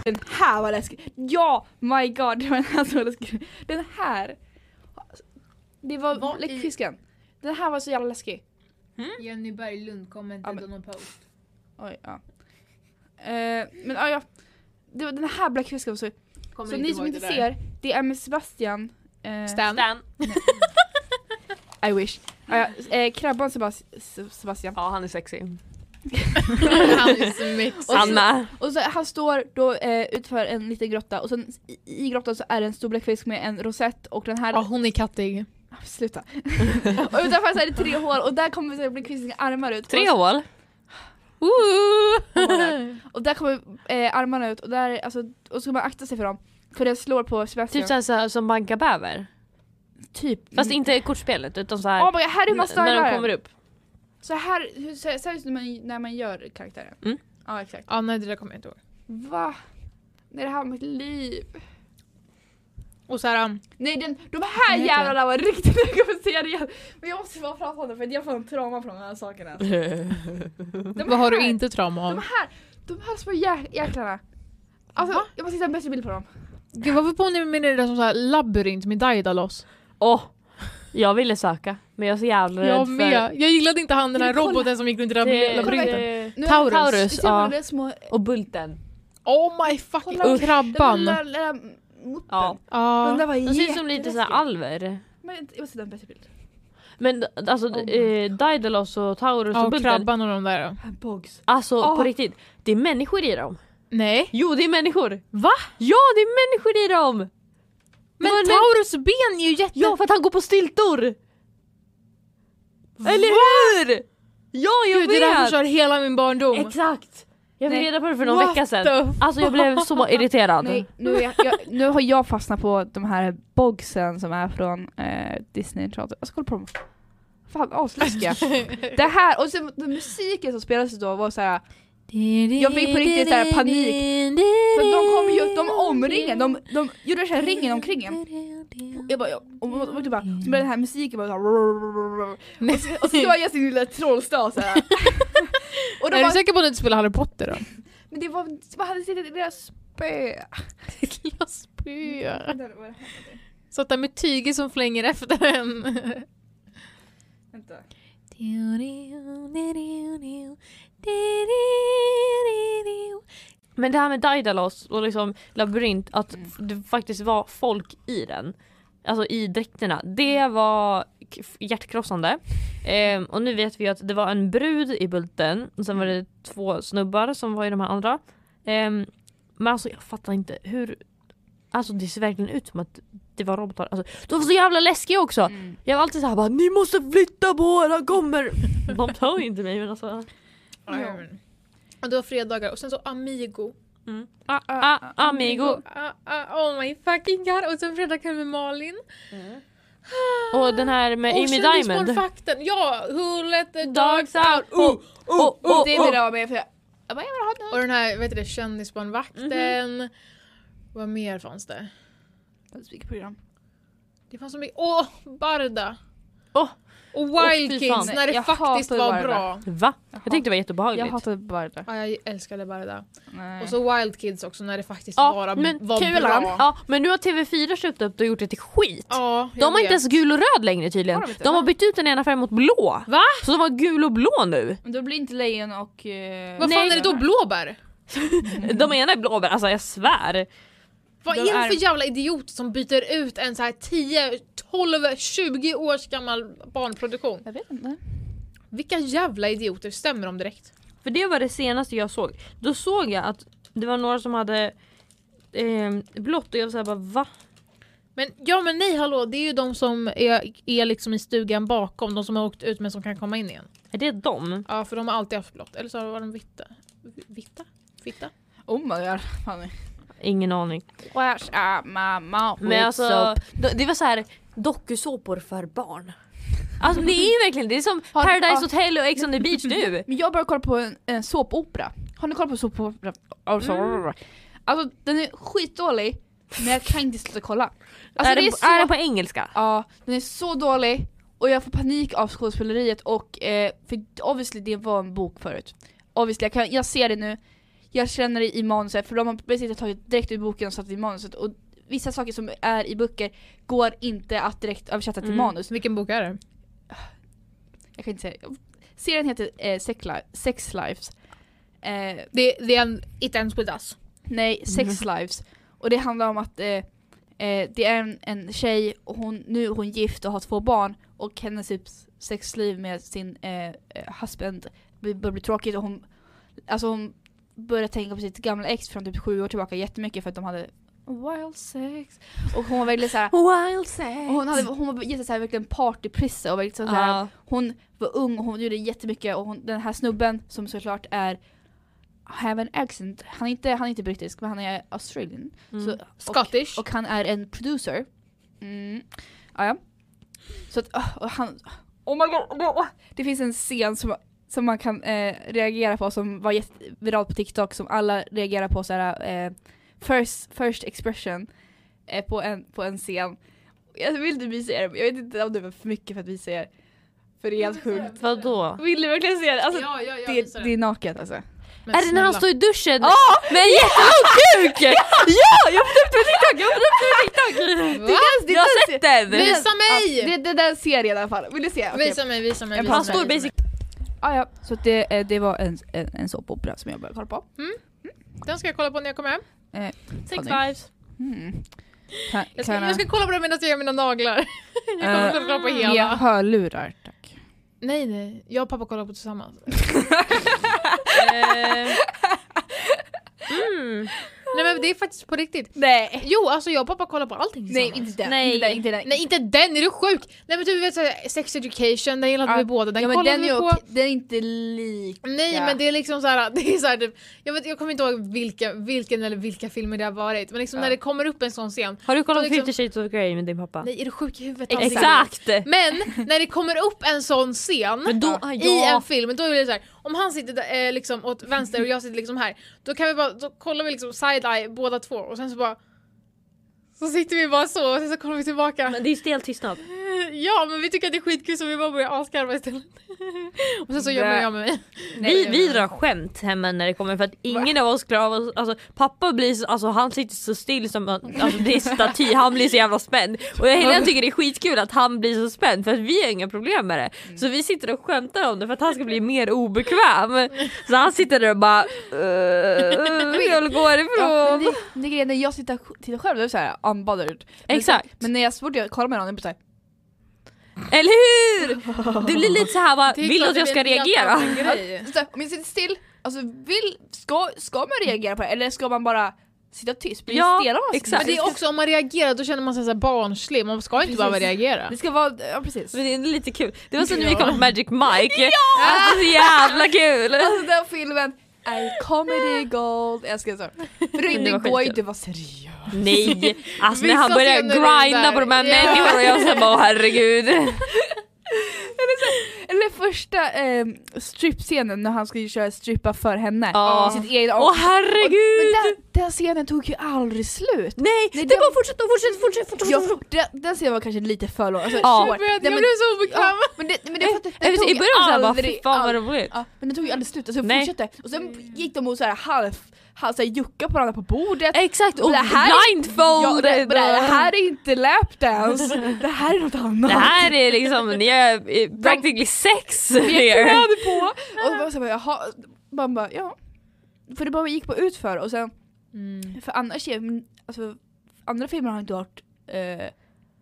[SPEAKER 4] Den här var läskig. Ja, my god, det var den här som var läskig. Den här. Det var
[SPEAKER 1] Vad i-
[SPEAKER 4] läckfisken. Den här var så jävla läskig.
[SPEAKER 1] Jenny Berglund kommenterade
[SPEAKER 4] Ja,
[SPEAKER 1] någon post.
[SPEAKER 4] Oj, ja. Eh, men ja, ja. Det var den här bläckfisken. Så, så ni som inte ser, det är med Sebastian. eh,
[SPEAKER 1] Stan.
[SPEAKER 4] I wish. Ja, ja, eh, krabban Sebas- Se- Sebastian.
[SPEAKER 2] Ja han är sexig.
[SPEAKER 1] Han är så mixig.
[SPEAKER 4] Och
[SPEAKER 2] Han
[SPEAKER 4] så-
[SPEAKER 2] med.
[SPEAKER 4] Och så, han står då eh, utför en liten grotta och sen i, i grottan så är det en stor bläckfisk med en rosett och den här
[SPEAKER 1] Ja, hon är kattig.
[SPEAKER 4] Ah, Sluta. och utanför så är det tre hål och där kommer så här bläckfiskens armar ut.
[SPEAKER 2] Tre hål.
[SPEAKER 1] Ooh.
[SPEAKER 4] Och, och där kommer eh, armarna ut och, där, alltså, och så ska man akta sig för dem. För det slår på Sebastian.
[SPEAKER 2] Typ såhär, såhär som Banka Bäver.
[SPEAKER 4] typ.
[SPEAKER 2] Fast inte kortspelet utan
[SPEAKER 4] Oh my
[SPEAKER 2] såhär
[SPEAKER 4] god, här är hur man
[SPEAKER 2] n- när de
[SPEAKER 4] stylar
[SPEAKER 2] kommer
[SPEAKER 4] den.
[SPEAKER 2] upp.
[SPEAKER 4] Så här, hur, så, så här ut när man, när man gör karaktären.
[SPEAKER 2] Mm.
[SPEAKER 4] Ja exakt.
[SPEAKER 1] Ja, nej det där kommer jag inte ihåg.
[SPEAKER 4] Va? Nej det här var mitt liv.
[SPEAKER 1] Och så här, um,
[SPEAKER 4] Nej den, de här
[SPEAKER 1] heter
[SPEAKER 4] jävlarna var riktigt, jag kommer säga det igen. Men jag måste bara prata om det för att jag får en trauma från de här sakerna. De
[SPEAKER 1] vad har du
[SPEAKER 4] här-
[SPEAKER 1] inte trauma
[SPEAKER 4] De
[SPEAKER 1] av?
[SPEAKER 4] här, de här små jä- jäklarna. Alltså,
[SPEAKER 1] Va?
[SPEAKER 4] jag måste hitta en bättre bild på dem.
[SPEAKER 1] Gud varför påminner mig det där som så här labyrint med Daidalos?
[SPEAKER 2] Åh! jag ville söka men jag är så jävla rädd
[SPEAKER 1] Jag
[SPEAKER 2] för...
[SPEAKER 1] med. Jag gillade inte han den här
[SPEAKER 4] Kolla.
[SPEAKER 1] roboten som gick runt i
[SPEAKER 2] Det-
[SPEAKER 1] lab- labyrinten.
[SPEAKER 2] det-
[SPEAKER 4] Nu
[SPEAKER 1] Taurus.
[SPEAKER 2] Taurus,
[SPEAKER 4] Ser man
[SPEAKER 2] ja.
[SPEAKER 4] det små...
[SPEAKER 2] Och Bulten.
[SPEAKER 1] Oh my fucking
[SPEAKER 4] Kolla. Den
[SPEAKER 1] krabban.
[SPEAKER 4] där lilla muppen.
[SPEAKER 2] Ja.
[SPEAKER 4] Den där
[SPEAKER 1] Ja.
[SPEAKER 4] var
[SPEAKER 2] De ser ut som lite såhär
[SPEAKER 4] jätteläskig.
[SPEAKER 2] alver.
[SPEAKER 4] Men vänta, Jag måste hitta en bättre bild.
[SPEAKER 2] Men d- alltså
[SPEAKER 1] Oh my
[SPEAKER 2] eh, Daedalus och Taurus
[SPEAKER 1] Ja,
[SPEAKER 2] och
[SPEAKER 1] och
[SPEAKER 2] Bulten.
[SPEAKER 1] krabban och de där.
[SPEAKER 4] Bogs.
[SPEAKER 2] Alltså
[SPEAKER 4] Ah.
[SPEAKER 2] på riktigt, det är människor i dem.
[SPEAKER 1] Nej.
[SPEAKER 2] Jo det är människor!
[SPEAKER 1] Va?
[SPEAKER 2] Ja det är människor i dem!
[SPEAKER 1] Men
[SPEAKER 2] Vad är det?
[SPEAKER 1] Taurus ben är ju jätte...
[SPEAKER 2] Ja för att han går på styltor!
[SPEAKER 1] Va?
[SPEAKER 2] Eller hur? Ja jag
[SPEAKER 1] Gud, det där
[SPEAKER 2] vet!
[SPEAKER 1] förstör hela min barndom.
[SPEAKER 2] Exakt! Jag fick
[SPEAKER 4] Nej.
[SPEAKER 2] reda på det för någon
[SPEAKER 1] What
[SPEAKER 2] vecka
[SPEAKER 1] the
[SPEAKER 2] sedan.
[SPEAKER 1] fuck?
[SPEAKER 2] Alltså jag blev så irriterad.
[SPEAKER 4] Nej, nu, är jag, jag, nu har jag fastnat på de här bogsen som är från eh, Disney Charter. Jag ska kolla på dem. Fan asläskiga. det här, och sen den musiken som spelades då var så här. Jag fick på riktigt så här panik. För de kom ju, de omringade, de, de gjorde den här ringen omkring en. Jag bara, jag, och, och, och, typ bara, så började den här musiken bara såhär
[SPEAKER 1] Nej.
[SPEAKER 4] Och så var jag sin lilla trollstav såhär Och de
[SPEAKER 1] Är du
[SPEAKER 4] bara,
[SPEAKER 1] säker på att du inte spelar Harry Potter då?
[SPEAKER 4] men det var, man hade sett deras spö
[SPEAKER 1] Jag spyr. Satt där med tyger som flänger efter en.
[SPEAKER 4] Vänta.
[SPEAKER 2] Men det här med Daidalos och liksom labyrint, att
[SPEAKER 4] Mm.
[SPEAKER 2] det faktiskt var folk i den. Alltså i dräkterna. Det var k- hjärtkrossande. Ehm, och nu vet vi ju att det var en brud i Bulten och sen var det två snubbar som var i de här andra. Ehm, men alltså jag fattar inte hur... Alltså det ser verkligen ut som att det var robotar. Alltså, de var så jävla läskiga också!
[SPEAKER 4] Mm.
[SPEAKER 2] Jag var alltid såhär bara ni måste flytta på er, han kommer! De tar ju inte mig men alltså.
[SPEAKER 4] Ja.
[SPEAKER 1] Och det var fredagar och sen så Amigo.
[SPEAKER 2] Mm. Ah, ah, amigo!
[SPEAKER 1] Ah, ah, oh my fucking god. Och sen fredagkväll med Malin.
[SPEAKER 2] Mm. Och den här med
[SPEAKER 1] och
[SPEAKER 2] Amy Diamond.
[SPEAKER 1] Kändismålvakten. Ja, eh, Who let the dogs
[SPEAKER 2] Dogs
[SPEAKER 1] out.
[SPEAKER 2] out! Oh, oh, oh,
[SPEAKER 4] Det vill jag ha med för jag, jag bara, jag vill ha den.
[SPEAKER 1] Och den här vad heter det, kändisbarnvakten.
[SPEAKER 2] Mhm.
[SPEAKER 1] Vad mer fanns det?
[SPEAKER 4] Musikprogram.
[SPEAKER 1] Det fanns så mycket. Åh, Barda!
[SPEAKER 2] Åh.
[SPEAKER 1] Och
[SPEAKER 2] Åh,
[SPEAKER 1] Wild
[SPEAKER 2] fy
[SPEAKER 1] Kids
[SPEAKER 2] fan.
[SPEAKER 1] när det
[SPEAKER 4] Jag
[SPEAKER 1] faktiskt
[SPEAKER 4] hatar
[SPEAKER 1] var
[SPEAKER 4] Barda.
[SPEAKER 1] bra.
[SPEAKER 2] Va? Jag tyckte det var
[SPEAKER 4] Jag
[SPEAKER 2] jättebehagligt.
[SPEAKER 4] hatar bara det.
[SPEAKER 1] Ja, jag älskade Barda.
[SPEAKER 4] Nej.
[SPEAKER 1] Och så Wild Kids också när det faktiskt
[SPEAKER 2] Ja
[SPEAKER 1] var,
[SPEAKER 2] men,
[SPEAKER 1] var
[SPEAKER 2] kulan.
[SPEAKER 1] bra.
[SPEAKER 2] ja men nu har TV4 köpt upp det och gjort det till skit.
[SPEAKER 1] Ja, jag
[SPEAKER 2] De har
[SPEAKER 1] vet.
[SPEAKER 2] inte ens gul och röd längre tydligen.
[SPEAKER 4] Har de inte?
[SPEAKER 2] De har bytt ut den ena färgen mot blå.
[SPEAKER 1] Va?
[SPEAKER 2] Så de har gul och blå nu.
[SPEAKER 4] Men då blir inte lejon och... Eh,
[SPEAKER 1] Vad fan
[SPEAKER 2] Nej.
[SPEAKER 1] är det då? Blåbär?
[SPEAKER 4] Mm.
[SPEAKER 2] De ena är blåbär, alltså jag svär.
[SPEAKER 1] Vad
[SPEAKER 4] De
[SPEAKER 1] är det
[SPEAKER 4] är-
[SPEAKER 1] för jävla idiot som byter ut en så här 10, 12, 20 års gammal barnproduktion?
[SPEAKER 4] Jag vet inte.
[SPEAKER 1] Vilka jävla idioter stämmer de direkt?
[SPEAKER 2] För det var det senaste jag såg. Då såg jag att det var några som hade eh, blått och jag var såhär bara va?
[SPEAKER 1] Men ja men nej hallå, det är ju de som är, är liksom i stugan bakom, de som har åkt ut men som kan komma in igen.
[SPEAKER 2] Är det dem?
[SPEAKER 1] Ja för de har alltid haft blått, eller så var de vitta. Vi- Vitta? Fitta?
[SPEAKER 4] Oh my god. Fanny.
[SPEAKER 2] Ingen aning.
[SPEAKER 4] Where's are my mouth?
[SPEAKER 2] Men alltså, d- det var så här dokusåpor för barn. Alltså det är ju verkligen, det är som
[SPEAKER 4] Har-
[SPEAKER 2] Paradise
[SPEAKER 4] ja.
[SPEAKER 2] Hotel och Ex on the beach nu.
[SPEAKER 4] Men jag började kolla på en, en såpopera. Har ni kollat på såpopera? Alltså,
[SPEAKER 2] Mm.
[SPEAKER 4] alltså den är skitdålig men jag kan inte sluta kolla. Alltså,
[SPEAKER 2] är,
[SPEAKER 4] det
[SPEAKER 2] det
[SPEAKER 4] är, så,
[SPEAKER 2] är det på engelska?
[SPEAKER 4] ja, den är så dålig och jag får panik av skådespeleriet och eh, för obviously det var en bok förut. Obviously, jag, kan, jag ser det nu, jag känner det i manuset för de har precis tagit direkt ur boken och satt i manuset och vissa saker som är i böcker går inte att direkt översätta till
[SPEAKER 2] Mm.
[SPEAKER 4] manus.
[SPEAKER 1] Vilken bok är det?
[SPEAKER 4] Jag kan inte säga Serien heter eh, Sex Li- Sex Lives. Eh,
[SPEAKER 1] Det, det är en It ends with us.
[SPEAKER 2] Mm.
[SPEAKER 4] Nej, Sex Lives. Och det handlar om att eh, eh, det är en, en tjej, och hon, nu är hon gift och har två barn och hennes typ, sexliv med sin eh, eh, husband blir- börjar bli tråkigt och hon, alltså hon börjar tänka på sitt gamla ex från typ sju år tillbaka jättemycket för att de hade wild sex. Och hon var verkligen såhär,
[SPEAKER 2] Wild sex.
[SPEAKER 4] och hon, hade, hon var jättesåhär verkligen partyprisse och var liksom såhär,
[SPEAKER 2] Ja.
[SPEAKER 4] hon var ung och hon gjorde jättemycket och hon, den här snubben som såklart är have an accent, han är inte, han är inte brittisk men han är australian.
[SPEAKER 2] Mm.
[SPEAKER 4] Så,
[SPEAKER 1] Scottish.
[SPEAKER 4] och han är en producer. Mm. Ja, ja. Så att, ah, och han, oh my god, oh my god. Det finns en scen som, som man kan eh, reagera på som var jätte- viral på TikTok som alla reagerar på såhär eh, first, first expression eh, på, en, på en scen. Jag vill inte visa er, men jag vet inte om det var för mycket för att visa er. För det är helt sjukt.
[SPEAKER 2] Vadå?
[SPEAKER 4] Vill du verkligen se det? Alltså,
[SPEAKER 1] ja, ja, jag
[SPEAKER 4] det, det är naket alltså.
[SPEAKER 1] Men
[SPEAKER 2] Är det när han
[SPEAKER 1] snälla.
[SPEAKER 2] står i duschen? Med en jättelång kuk! ja! Jag får upp på TikTok, jag får upp på TikTok!
[SPEAKER 1] Va?
[SPEAKER 4] Det
[SPEAKER 2] Jag har sett den!
[SPEAKER 1] Vi- Visa
[SPEAKER 4] Ja,
[SPEAKER 1] mig!
[SPEAKER 4] det, det där ser jag i alla fall. Vill du se? Okej.
[SPEAKER 1] Visa mig, visa mig.
[SPEAKER 4] Jag
[SPEAKER 1] Visa
[SPEAKER 2] Han
[SPEAKER 1] mig.
[SPEAKER 2] står basic...
[SPEAKER 4] Ah, ja. Så att det, eh, det var en, en, en såpopera som jag började kolla på.
[SPEAKER 1] Den ska jag kolla på när jag kommer hem.
[SPEAKER 4] Eh,
[SPEAKER 2] Sex
[SPEAKER 4] Fanny.
[SPEAKER 2] vibes.
[SPEAKER 4] Mm. Kan,
[SPEAKER 1] Jag ska,
[SPEAKER 4] kan
[SPEAKER 1] jag ska kolla på den medan jag gör mina naglar. jag kommer
[SPEAKER 4] Eh,
[SPEAKER 1] inte att kolla på hela.
[SPEAKER 4] ge hörlurar tack.
[SPEAKER 1] Nej, nej. Jag och pappa kollar på tillsammans.
[SPEAKER 2] Eh, Mm.
[SPEAKER 1] nej men det är faktiskt på riktigt.
[SPEAKER 4] Nej.
[SPEAKER 1] Jo, alltså jag och pappa kollar på allting
[SPEAKER 4] Eh. Nej
[SPEAKER 1] tillsammans.
[SPEAKER 4] inte den.
[SPEAKER 2] Nej.
[SPEAKER 4] Inte den, inte den.
[SPEAKER 1] Nej inte den, är du sjuk? Nej men typ vet så här, sex education, den gillade
[SPEAKER 4] Ja.
[SPEAKER 1] vi båda, den
[SPEAKER 4] ja, men
[SPEAKER 1] kollade
[SPEAKER 4] den,
[SPEAKER 1] vi
[SPEAKER 4] är
[SPEAKER 1] på.
[SPEAKER 4] okej. den är inte lik.
[SPEAKER 1] Nej
[SPEAKER 4] Ja.
[SPEAKER 1] men det är liksom så här, det är så här typ, jag, vet, jag kommer inte ihåg vilka, vilken eller vilka filmer det har varit men liksom
[SPEAKER 4] Ja.
[SPEAKER 1] när det kommer upp en sån scen,
[SPEAKER 2] Har du kollat på
[SPEAKER 1] Liksom-
[SPEAKER 2] 50 shades of Grey med din pappa?
[SPEAKER 1] nej är du sjuk i huvudet? Hansi?
[SPEAKER 2] Exakt!
[SPEAKER 1] Men när det kommer upp en sån scen
[SPEAKER 2] Men då,
[SPEAKER 1] i en
[SPEAKER 2] ja.
[SPEAKER 1] film, då är det så här, om han sitter där, eh, liksom åt vänster och jag sitter liksom här, då kan vi bara, då kollar vi liksom side-eye båda två och sen så bara så sitter vi bara så och sen så kollar vi tillbaka.
[SPEAKER 2] Men det är ju stel tystnad.
[SPEAKER 1] Ja men vi tycker att det är skitkul så vi bara börjar asgarva istället. Och sen så gömmer
[SPEAKER 4] Bä.
[SPEAKER 1] jag mig.
[SPEAKER 2] Vi, vi drar skämt hemma när det kommer för att ingen av oss klarar av oss, alltså pappa blir så, alltså han sitter så still som en- alltså det är staty, han blir så jävla spänd. Och jag Helena tycker det är skitkul att han blir så spänd för att vi har inga problem med det. Så vi sitter och skämtar om det för att han ska bli mer obekväm. Så han sitter där och bara "Äh, uh, vill gå
[SPEAKER 4] Ja, men
[SPEAKER 2] härifrån.
[SPEAKER 4] det, det är grejen, när jag sitter, tittar själv då är det såhär unbothered. Men
[SPEAKER 2] Exakt,
[SPEAKER 4] Men när jag så fort jag kollar med någon, det blir
[SPEAKER 2] eller hur? Det blir lite så här bara,
[SPEAKER 1] Det är
[SPEAKER 2] vill du
[SPEAKER 1] klart
[SPEAKER 2] att
[SPEAKER 1] det
[SPEAKER 2] jag ska
[SPEAKER 1] blir en helt
[SPEAKER 2] reagera?
[SPEAKER 1] annan grej.
[SPEAKER 4] såhär, om jag sitter still, alltså vill, ska, ska man reagera på det eller ska man bara sitta tyst? Blir
[SPEAKER 2] Ja,
[SPEAKER 4] det stelare om man sitter
[SPEAKER 2] exakt.
[SPEAKER 1] Men det är också om man reagerar då känner man sig så här barnslig, man ska inte
[SPEAKER 4] Precis.
[SPEAKER 1] behöva reagera.
[SPEAKER 4] Det ska vara, ja precis.
[SPEAKER 2] Men det är lite kul. Det var så när vi
[SPEAKER 1] Ja.
[SPEAKER 2] kollade på Magic Mike. Alltså så jävla kul!
[SPEAKER 4] Alltså den filmen är comedy gold. Jag ska säga För det,
[SPEAKER 2] Det var
[SPEAKER 4] det går ju
[SPEAKER 2] skitkul.
[SPEAKER 4] inte att vara seriös.
[SPEAKER 2] Nej, alltså när
[SPEAKER 1] Vissa
[SPEAKER 2] han börjar
[SPEAKER 1] scener är
[SPEAKER 2] grinda
[SPEAKER 1] där.
[SPEAKER 2] på de här
[SPEAKER 1] Ja.
[SPEAKER 2] människorna och jag säger bara "Åh, herregud.
[SPEAKER 4] Eller första eh, strippscenen när han ska ju köra strippa för henne.
[SPEAKER 2] Ja.
[SPEAKER 4] I sitt egna
[SPEAKER 2] Åh
[SPEAKER 4] Men
[SPEAKER 2] herregud!
[SPEAKER 4] den, den scenen tog ju aldrig slut.
[SPEAKER 2] Nej,
[SPEAKER 4] Nej,
[SPEAKER 2] det
[SPEAKER 4] det-
[SPEAKER 2] bara fortsätter och fortsätter fortsätter
[SPEAKER 4] Ja,
[SPEAKER 2] fortsätter.
[SPEAKER 4] den, den scenen var kanske lite för lång. Alltså,
[SPEAKER 2] Ja.
[SPEAKER 4] short.
[SPEAKER 1] Jag, vet,
[SPEAKER 4] Nej,
[SPEAKER 1] jag
[SPEAKER 4] men-
[SPEAKER 1] blev så obekväm.
[SPEAKER 4] Ja, men det, men det, är för att den
[SPEAKER 2] Jag vet, I
[SPEAKER 4] tog
[SPEAKER 2] början så här bara fy
[SPEAKER 4] aldrig-
[SPEAKER 2] fan vad
[SPEAKER 4] aldrig-
[SPEAKER 2] roligt.
[SPEAKER 4] Ja, men den tog ju aldrig slut, alltså,
[SPEAKER 2] Nej.
[SPEAKER 4] fortsatte. Och sen gick de och så här halv, halv så här, jucka på varandra på bordet.
[SPEAKER 2] Exakt, och
[SPEAKER 4] det här är- Ja, och det,
[SPEAKER 2] blindfolded.
[SPEAKER 4] men det här är inte lapdance, det här är något annat.
[SPEAKER 2] Det här är liksom, ni är eh, practically sex
[SPEAKER 4] Vi har
[SPEAKER 2] here.
[SPEAKER 4] kläder på! Och man bara, jaha, man bara ja. För det bara gick på utför och sen, för annars är, alltså, andra filmer har inte varit eh,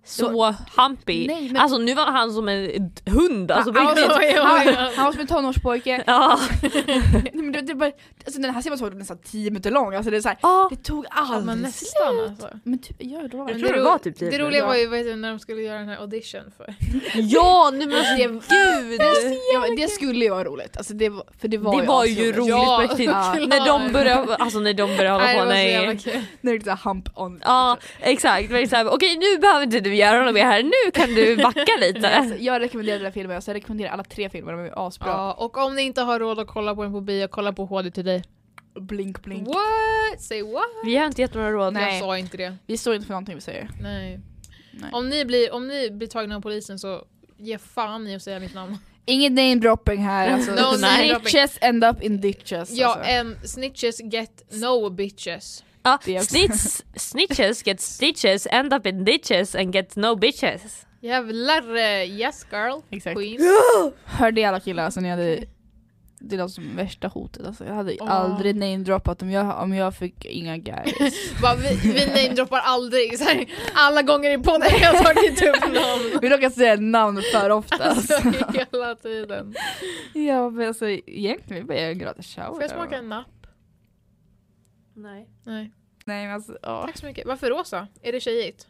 [SPEAKER 2] Så hampig.
[SPEAKER 4] Nej, men-
[SPEAKER 2] Alltså nu var han som en hund, alltså på
[SPEAKER 1] Alltså,
[SPEAKER 2] riktigt.
[SPEAKER 1] oj, oj,
[SPEAKER 4] han,
[SPEAKER 1] oj.
[SPEAKER 4] han var som en tonårspojke,
[SPEAKER 2] Ja.
[SPEAKER 4] Nej, men det, det bara, alltså, den här scenen var så nästan 10 minuter lång, alltså, det, är så här,
[SPEAKER 2] Ja.
[SPEAKER 4] det tog
[SPEAKER 1] Ja, men
[SPEAKER 4] aldrig slut.
[SPEAKER 1] nästan alltså.
[SPEAKER 4] Men typ, ja, då var
[SPEAKER 2] Jag
[SPEAKER 4] det-
[SPEAKER 2] tror det
[SPEAKER 1] ro-
[SPEAKER 2] var typ tio
[SPEAKER 1] det roliga
[SPEAKER 4] minuter.
[SPEAKER 1] var ju vad heter det, när de skulle göra den här audition för.
[SPEAKER 2] Ja, nu men alltså
[SPEAKER 4] Det-
[SPEAKER 2] gud!
[SPEAKER 4] ja, men det skulle ju vara roligt, alltså, det, var- för det var
[SPEAKER 2] Det var ju
[SPEAKER 4] asroligt.
[SPEAKER 2] roligt
[SPEAKER 1] Ja,
[SPEAKER 2] på riktigt.
[SPEAKER 1] ja.
[SPEAKER 2] När de började, alltså när de började hålla
[SPEAKER 1] Nej, det
[SPEAKER 2] på.
[SPEAKER 1] var så
[SPEAKER 2] Nej.
[SPEAKER 1] jävla kul.
[SPEAKER 4] När det är så här hump on.
[SPEAKER 2] Ja exakt, men exakt. okej nu behöver inte du göra något mer här, nu kan du backa lite.
[SPEAKER 4] Alltså, jag rekommenderar den här filmen, alltså, jag rekommenderar alla tre filmer, de är asbra.
[SPEAKER 1] Ja, och om ni inte har råd att kolla på den på bio, kolla på HD till dig.
[SPEAKER 4] Blink blink.
[SPEAKER 1] What? Say what?
[SPEAKER 2] Vi har inte gett några råd.
[SPEAKER 1] Nej.
[SPEAKER 4] Nej.
[SPEAKER 1] Jag sa inte det.
[SPEAKER 4] Vi står inte för någonting vi säger.
[SPEAKER 1] Nej.
[SPEAKER 4] Nej.
[SPEAKER 1] Om, ni blir, om ni blir tagna av polisen så ge fan i att säga mitt namn.
[SPEAKER 4] Inget name dropping här alltså.
[SPEAKER 1] No
[SPEAKER 2] name
[SPEAKER 1] dropping.
[SPEAKER 4] Snitches end up in ditches.
[SPEAKER 1] Ja, eh,
[SPEAKER 4] alltså.
[SPEAKER 1] en snitches get no bitches.
[SPEAKER 2] Ja,
[SPEAKER 4] Det är också-
[SPEAKER 2] snitch, snitches get stitches, end up in ditches and get no bitches.
[SPEAKER 1] Jävlar, eh, yes girl,
[SPEAKER 4] Exakt.
[SPEAKER 1] queen.
[SPEAKER 4] Hörde alla killar, alltså ni hade det låter som värsta hotet alltså. Jag hade
[SPEAKER 1] Åh.
[SPEAKER 4] aldrig namedroppat om jag, om jag fick inga guys.
[SPEAKER 1] Bara, vi vi namedroppar aldrig. Så här, alla gånger i podden har jag tagit upp namn.
[SPEAKER 4] Vi råkar säga namn för ofta.
[SPEAKER 1] Alltså
[SPEAKER 4] Alltså.
[SPEAKER 1] hela tiden.
[SPEAKER 4] ja men alltså egentligen vill jag göra en gratis shower.
[SPEAKER 1] Får jag smaka en napp?
[SPEAKER 2] Nej,
[SPEAKER 1] Nej.
[SPEAKER 4] Nej men alltså ja.
[SPEAKER 1] Tack så mycket. Varför rosa? Är det tjejigt?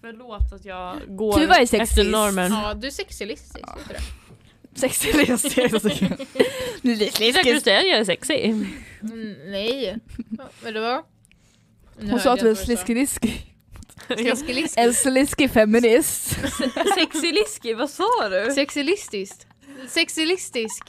[SPEAKER 2] förlåt att jag går
[SPEAKER 4] Du var ju sexist.
[SPEAKER 2] efter
[SPEAKER 4] Mm.
[SPEAKER 2] normen.
[SPEAKER 1] Ja, du är sexilistisk.
[SPEAKER 4] Ah.
[SPEAKER 1] vet du det?
[SPEAKER 4] Sexig
[SPEAKER 2] Isak du
[SPEAKER 4] lesbisk.
[SPEAKER 2] säger att jag är sexig.
[SPEAKER 1] Mm, nej. Ja, Men det var... Nu
[SPEAKER 4] Hon
[SPEAKER 1] hörde
[SPEAKER 4] sa
[SPEAKER 1] jag
[SPEAKER 4] att vi är
[SPEAKER 1] vad du sa.
[SPEAKER 4] sliskiliski.
[SPEAKER 1] Sliskilisk.
[SPEAKER 4] En sliskig feminist.
[SPEAKER 2] Sexiliski, vad sa du?
[SPEAKER 1] Sexilistiskt. Sexilistisk.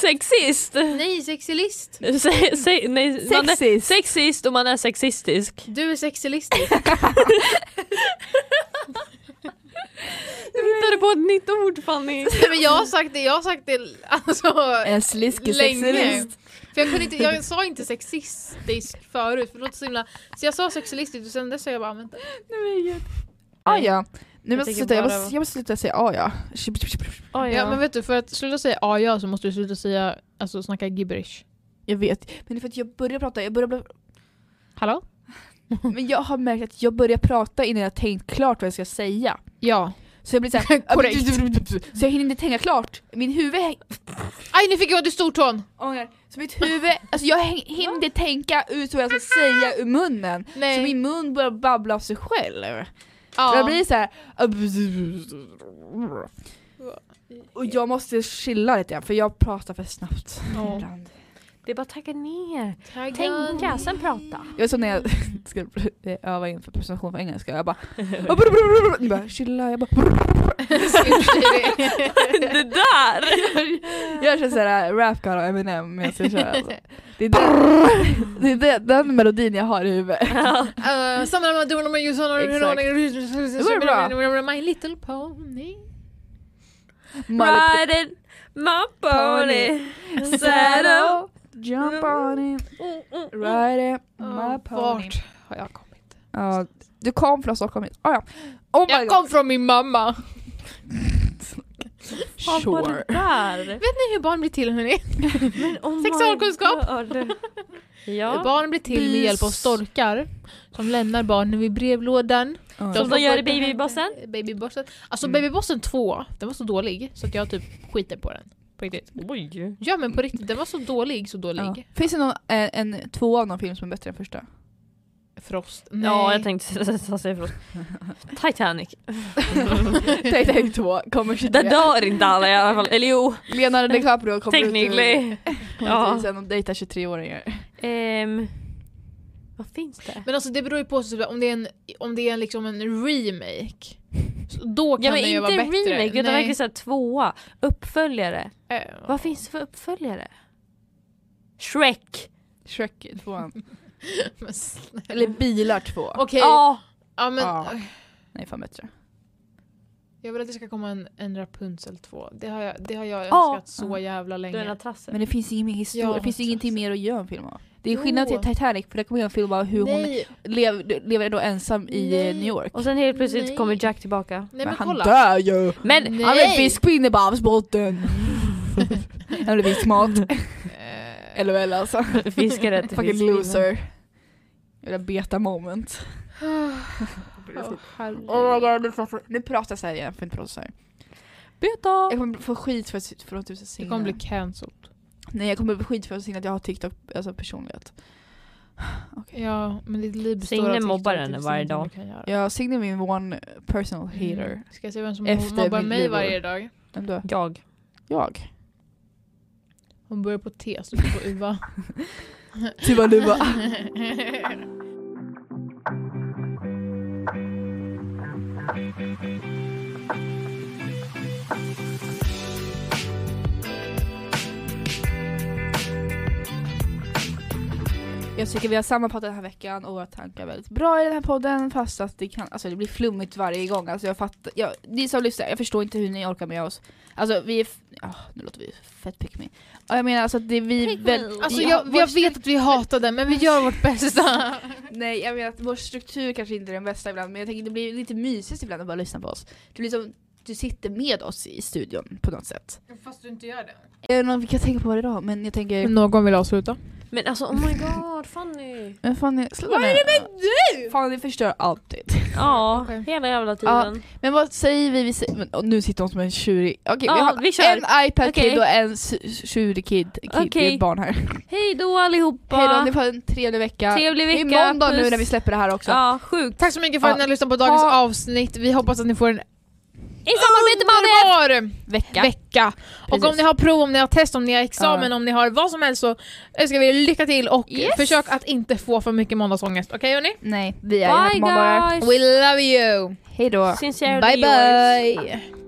[SPEAKER 2] Sexist!
[SPEAKER 1] Nej, sexilist.
[SPEAKER 2] Se, se, nej, man är
[SPEAKER 4] Sexist.
[SPEAKER 2] sexist och man är sexistisk.
[SPEAKER 1] Du är sexilistisk.
[SPEAKER 2] Du hittade på ett nytt ord Fanny.
[SPEAKER 1] Nej, men jag har sagt det, jag har sagt det alltså,
[SPEAKER 4] En sliskig
[SPEAKER 1] länge.
[SPEAKER 4] sexist.
[SPEAKER 1] För jag, kunde inte, jag sa inte sexistisk förut, för det låter så himla... Så jag sa sexistisk och sen dess har jag bara använt det.
[SPEAKER 4] Ah, ja. Nu
[SPEAKER 2] Jag
[SPEAKER 4] måste jag,
[SPEAKER 2] tänker
[SPEAKER 4] sluta. Jag,
[SPEAKER 2] bara-
[SPEAKER 4] måste, jag måste sluta säga ah, ja.
[SPEAKER 2] Oh,
[SPEAKER 1] Ja. men vet du, för att sluta säga ah, ja så måste du sluta säga, alltså snacka gibberish.
[SPEAKER 4] Jag vet. Men det är för att jag börjar prata, jag börjar bli...
[SPEAKER 1] Hallå?
[SPEAKER 4] Men jag har märkt att jag börjar prata innan jag tänkt klart vad jag ska säga.
[SPEAKER 1] Ja.
[SPEAKER 4] Så jag blir såhär...
[SPEAKER 1] Korrekt.
[SPEAKER 4] Så jag hinner inte tänka klart. Min huvud
[SPEAKER 1] Aj nu fick jag till stortån!
[SPEAKER 4] ångar. Så mitt huvud, alltså jag häng- hinner inte tänka ut vad jag ska säga ur munnen. Så
[SPEAKER 1] Nej.
[SPEAKER 4] min mun börjar babbla av sig själv.
[SPEAKER 1] ja.
[SPEAKER 4] Så "Äh, jag blir såhär... Och jag måste chilla lite grann för jag pratar för snabbt.
[SPEAKER 1] Ja.
[SPEAKER 4] Ibland.
[SPEAKER 2] Det är bara att tagga ner.
[SPEAKER 1] Mm.
[SPEAKER 2] Tänka, sen prata.
[SPEAKER 4] Jag är som när jag ska öva inför presentation för engelska, jag bara... jag bara- jag bara chilla, jag bara...
[SPEAKER 2] det där!
[SPEAKER 4] Jag kör såhär rap god och Eminem medan jag kör alltså. Det är, den, det är den, den melodin jag har i huvudet.
[SPEAKER 1] Eh, Samla med domarna med ljusen
[SPEAKER 4] Exakt. Det går
[SPEAKER 1] och... My little pony.
[SPEAKER 2] Riding my pony.
[SPEAKER 4] Pony.
[SPEAKER 2] Saddle. Oh,
[SPEAKER 4] Jump on it, ride it, my pony.
[SPEAKER 1] Vart har jag kommit?
[SPEAKER 4] Ja, du kom från Stockholm hit. Ah, ja. Oh my
[SPEAKER 1] Jag
[SPEAKER 4] god.
[SPEAKER 1] kom från min mamma.
[SPEAKER 2] Vad var det där?
[SPEAKER 1] Vet ni hur barn blir till hörni?
[SPEAKER 2] Men oh my
[SPEAKER 1] Sexualkunskap.
[SPEAKER 2] god. Ja.
[SPEAKER 1] Barn blir till med hjälp av storkar som lämnar barnen vid brevlådan.
[SPEAKER 4] Ja.
[SPEAKER 2] De som gör i Babybossen?
[SPEAKER 1] Babybossen. Alltså
[SPEAKER 4] Mm.
[SPEAKER 1] Babybossen 2, den var så dålig så att jag typ skiter på den. På riktigt.
[SPEAKER 2] Oj.
[SPEAKER 1] Ja men på riktigt, den var så dålig, så dålig.
[SPEAKER 4] Ja. Finns det någon, en, en tvåa av någon film som är bättre än första?
[SPEAKER 1] Frost.
[SPEAKER 2] Ja, jag tänkte säga förlåt. Titanic.
[SPEAKER 4] Titanic 2 kommer
[SPEAKER 2] Där
[SPEAKER 4] 23.
[SPEAKER 2] dör inte alla i alla fall. Eller jo,
[SPEAKER 4] Leonardo DiCaprio kommer ut ur-
[SPEAKER 2] technically.
[SPEAKER 4] kommer
[SPEAKER 2] Ja.
[SPEAKER 4] ut ur sen och dejtar 23-åringar.
[SPEAKER 2] Ehm, vad finns det?
[SPEAKER 1] Men alltså det beror ju på så, om det är en, om det är en, liksom en remake. Så då kan
[SPEAKER 2] Ja men
[SPEAKER 1] den ju
[SPEAKER 2] inte
[SPEAKER 1] vara bättre.
[SPEAKER 2] remake utan
[SPEAKER 1] Nej.
[SPEAKER 2] verkligen såhär tvåa, uppföljare.
[SPEAKER 1] Eh,
[SPEAKER 2] Vad finns det för uppföljare? Shrek!
[SPEAKER 4] Shrek 2.
[SPEAKER 1] men snälla.
[SPEAKER 4] Eller Bilar 2.
[SPEAKER 1] Okej,
[SPEAKER 2] Ja!
[SPEAKER 1] ja, men,
[SPEAKER 4] Ja. Nej fan bättre.
[SPEAKER 1] jag vill att det ska komma en, en Rapunzel 2. Det har jag, det har jag
[SPEAKER 2] Ja.
[SPEAKER 1] önskat så jävla
[SPEAKER 2] Du är
[SPEAKER 1] länge.
[SPEAKER 2] en trassel.
[SPEAKER 4] Men det finns ingen mer historia,
[SPEAKER 1] Ja,
[SPEAKER 4] det finns
[SPEAKER 1] trist.
[SPEAKER 4] ingenting mer att göra en film av. Det är
[SPEAKER 1] Jo.
[SPEAKER 4] skillnad till Titanic för där kommer jag en film av hur hon
[SPEAKER 1] Nej,
[SPEAKER 4] lev, lever då ensam i eh,
[SPEAKER 1] Nej.
[SPEAKER 4] New York.
[SPEAKER 2] Och sen helt plötsligt
[SPEAKER 1] Nej.
[SPEAKER 2] kommer Jack tillbaka.
[SPEAKER 1] nej
[SPEAKER 4] men
[SPEAKER 1] men
[SPEAKER 4] han
[SPEAKER 1] kolla.
[SPEAKER 4] dör ju!
[SPEAKER 2] Men
[SPEAKER 1] Nej.
[SPEAKER 4] Han är en fiskpinne på havsbotten! Han är fiskmat.
[SPEAKER 1] Eh,
[SPEAKER 4] Eller väl alltså.
[SPEAKER 2] fiskare till
[SPEAKER 4] Fucking
[SPEAKER 2] fiskpinnar.
[SPEAKER 4] loser. Jag vill beta moment.
[SPEAKER 1] åh, herregud.
[SPEAKER 4] Nu pratar jag såhär igen, jag får inte prata såhär.
[SPEAKER 2] Byta!
[SPEAKER 4] Jag kommer få skit för, att- för att du
[SPEAKER 1] Det
[SPEAKER 4] säger
[SPEAKER 1] kommer bli cancelled.
[SPEAKER 4] Nej jag kommer få skit för att säga att jag har TikTok, alltså personlighet.
[SPEAKER 1] Ja, men ditt liv består
[SPEAKER 2] Signe
[SPEAKER 1] av
[SPEAKER 2] mobbar
[SPEAKER 1] TikTok,
[SPEAKER 2] henne
[SPEAKER 1] det finns
[SPEAKER 2] varje
[SPEAKER 1] ingenting
[SPEAKER 2] dag.
[SPEAKER 1] du kan göra.
[SPEAKER 4] Jag signar min one personal hater.
[SPEAKER 1] Mm. Ska jag se vem som
[SPEAKER 4] Efter
[SPEAKER 1] mobbar
[SPEAKER 4] mitt
[SPEAKER 1] mig
[SPEAKER 4] livår.
[SPEAKER 1] varje dag?
[SPEAKER 4] Vem då?
[SPEAKER 2] Jag.
[SPEAKER 4] Jag.
[SPEAKER 1] Hon börjar på T, slutar på UVA.
[SPEAKER 4] Tuva Luva. Jag tycker vi har sammanfattat den här veckan och våra tankar är väldigt bra i den här podden fast att det kan, alltså det blir flummigt varje gång. Alltså jag fattar, jag, ni som lyssnar, jag förstår inte hur ni orkar med oss. Alltså vi är, f- ja, nu låter vi fett pick me. Ja, jag menar alltså att det är vi väl,
[SPEAKER 1] Alltså
[SPEAKER 4] Ja,
[SPEAKER 1] jag,
[SPEAKER 4] vår
[SPEAKER 1] jag vet att vi hatar den men vi gör vårt bästa.
[SPEAKER 4] Nej jag menar att vår struktur kanske inte är den bästa ibland men jag tänker det blir lite mysigt ibland att bara lyssna på oss. Det blir som du sitter med oss i studion på något sätt.
[SPEAKER 1] Fast du inte gör det.
[SPEAKER 4] Jag vet inte om vi kan tänka på det idag men jag tänker...
[SPEAKER 1] Någon vill avsluta.
[SPEAKER 2] Men alltså oh my god Fanny!
[SPEAKER 4] Men Fanny, sluta Vad är det med dig? Fanny förstör alltid.
[SPEAKER 2] Ja,
[SPEAKER 1] Okej.
[SPEAKER 2] hela jävla tiden.
[SPEAKER 4] Men vad säger vi? vi säger, men, och nu sitter hon som en tjurig... Okej vi
[SPEAKER 2] Ja,
[SPEAKER 4] har
[SPEAKER 2] vi kör.
[SPEAKER 4] en iPad
[SPEAKER 2] Okej.
[SPEAKER 4] kid och en s- tjurig kid. kid Det är
[SPEAKER 2] Okej.
[SPEAKER 4] ett barn här.
[SPEAKER 2] Hej då allihopa!
[SPEAKER 4] Hej då, ni får ha en trevlig vecka.
[SPEAKER 2] Trevlig vecka!
[SPEAKER 4] Det är måndag nu
[SPEAKER 2] puss.
[SPEAKER 4] när vi släpper det här också.
[SPEAKER 2] Ja, sjukt.
[SPEAKER 1] Tack så mycket för att ni har lyssnat på dagens
[SPEAKER 4] Ja.
[SPEAKER 1] avsnitt. Vi hoppas att ni får en
[SPEAKER 2] I samarbete med ADF!
[SPEAKER 1] underbar
[SPEAKER 4] Vecka.
[SPEAKER 1] vecka. Och
[SPEAKER 4] Precis.
[SPEAKER 1] om ni har prov, om ni har test, om ni har examen, om ni har vad som helst så önskar vi er lycka till och
[SPEAKER 4] Yes.
[SPEAKER 1] försök att inte få för mycket måndagsångest. Okej hörni?
[SPEAKER 4] Nej, vi är ju här på
[SPEAKER 2] Bye
[SPEAKER 4] måndagar.
[SPEAKER 2] guys!
[SPEAKER 1] We love you!
[SPEAKER 4] Hej då.
[SPEAKER 2] Sincerely
[SPEAKER 1] Bye
[SPEAKER 2] yours.
[SPEAKER 1] bye!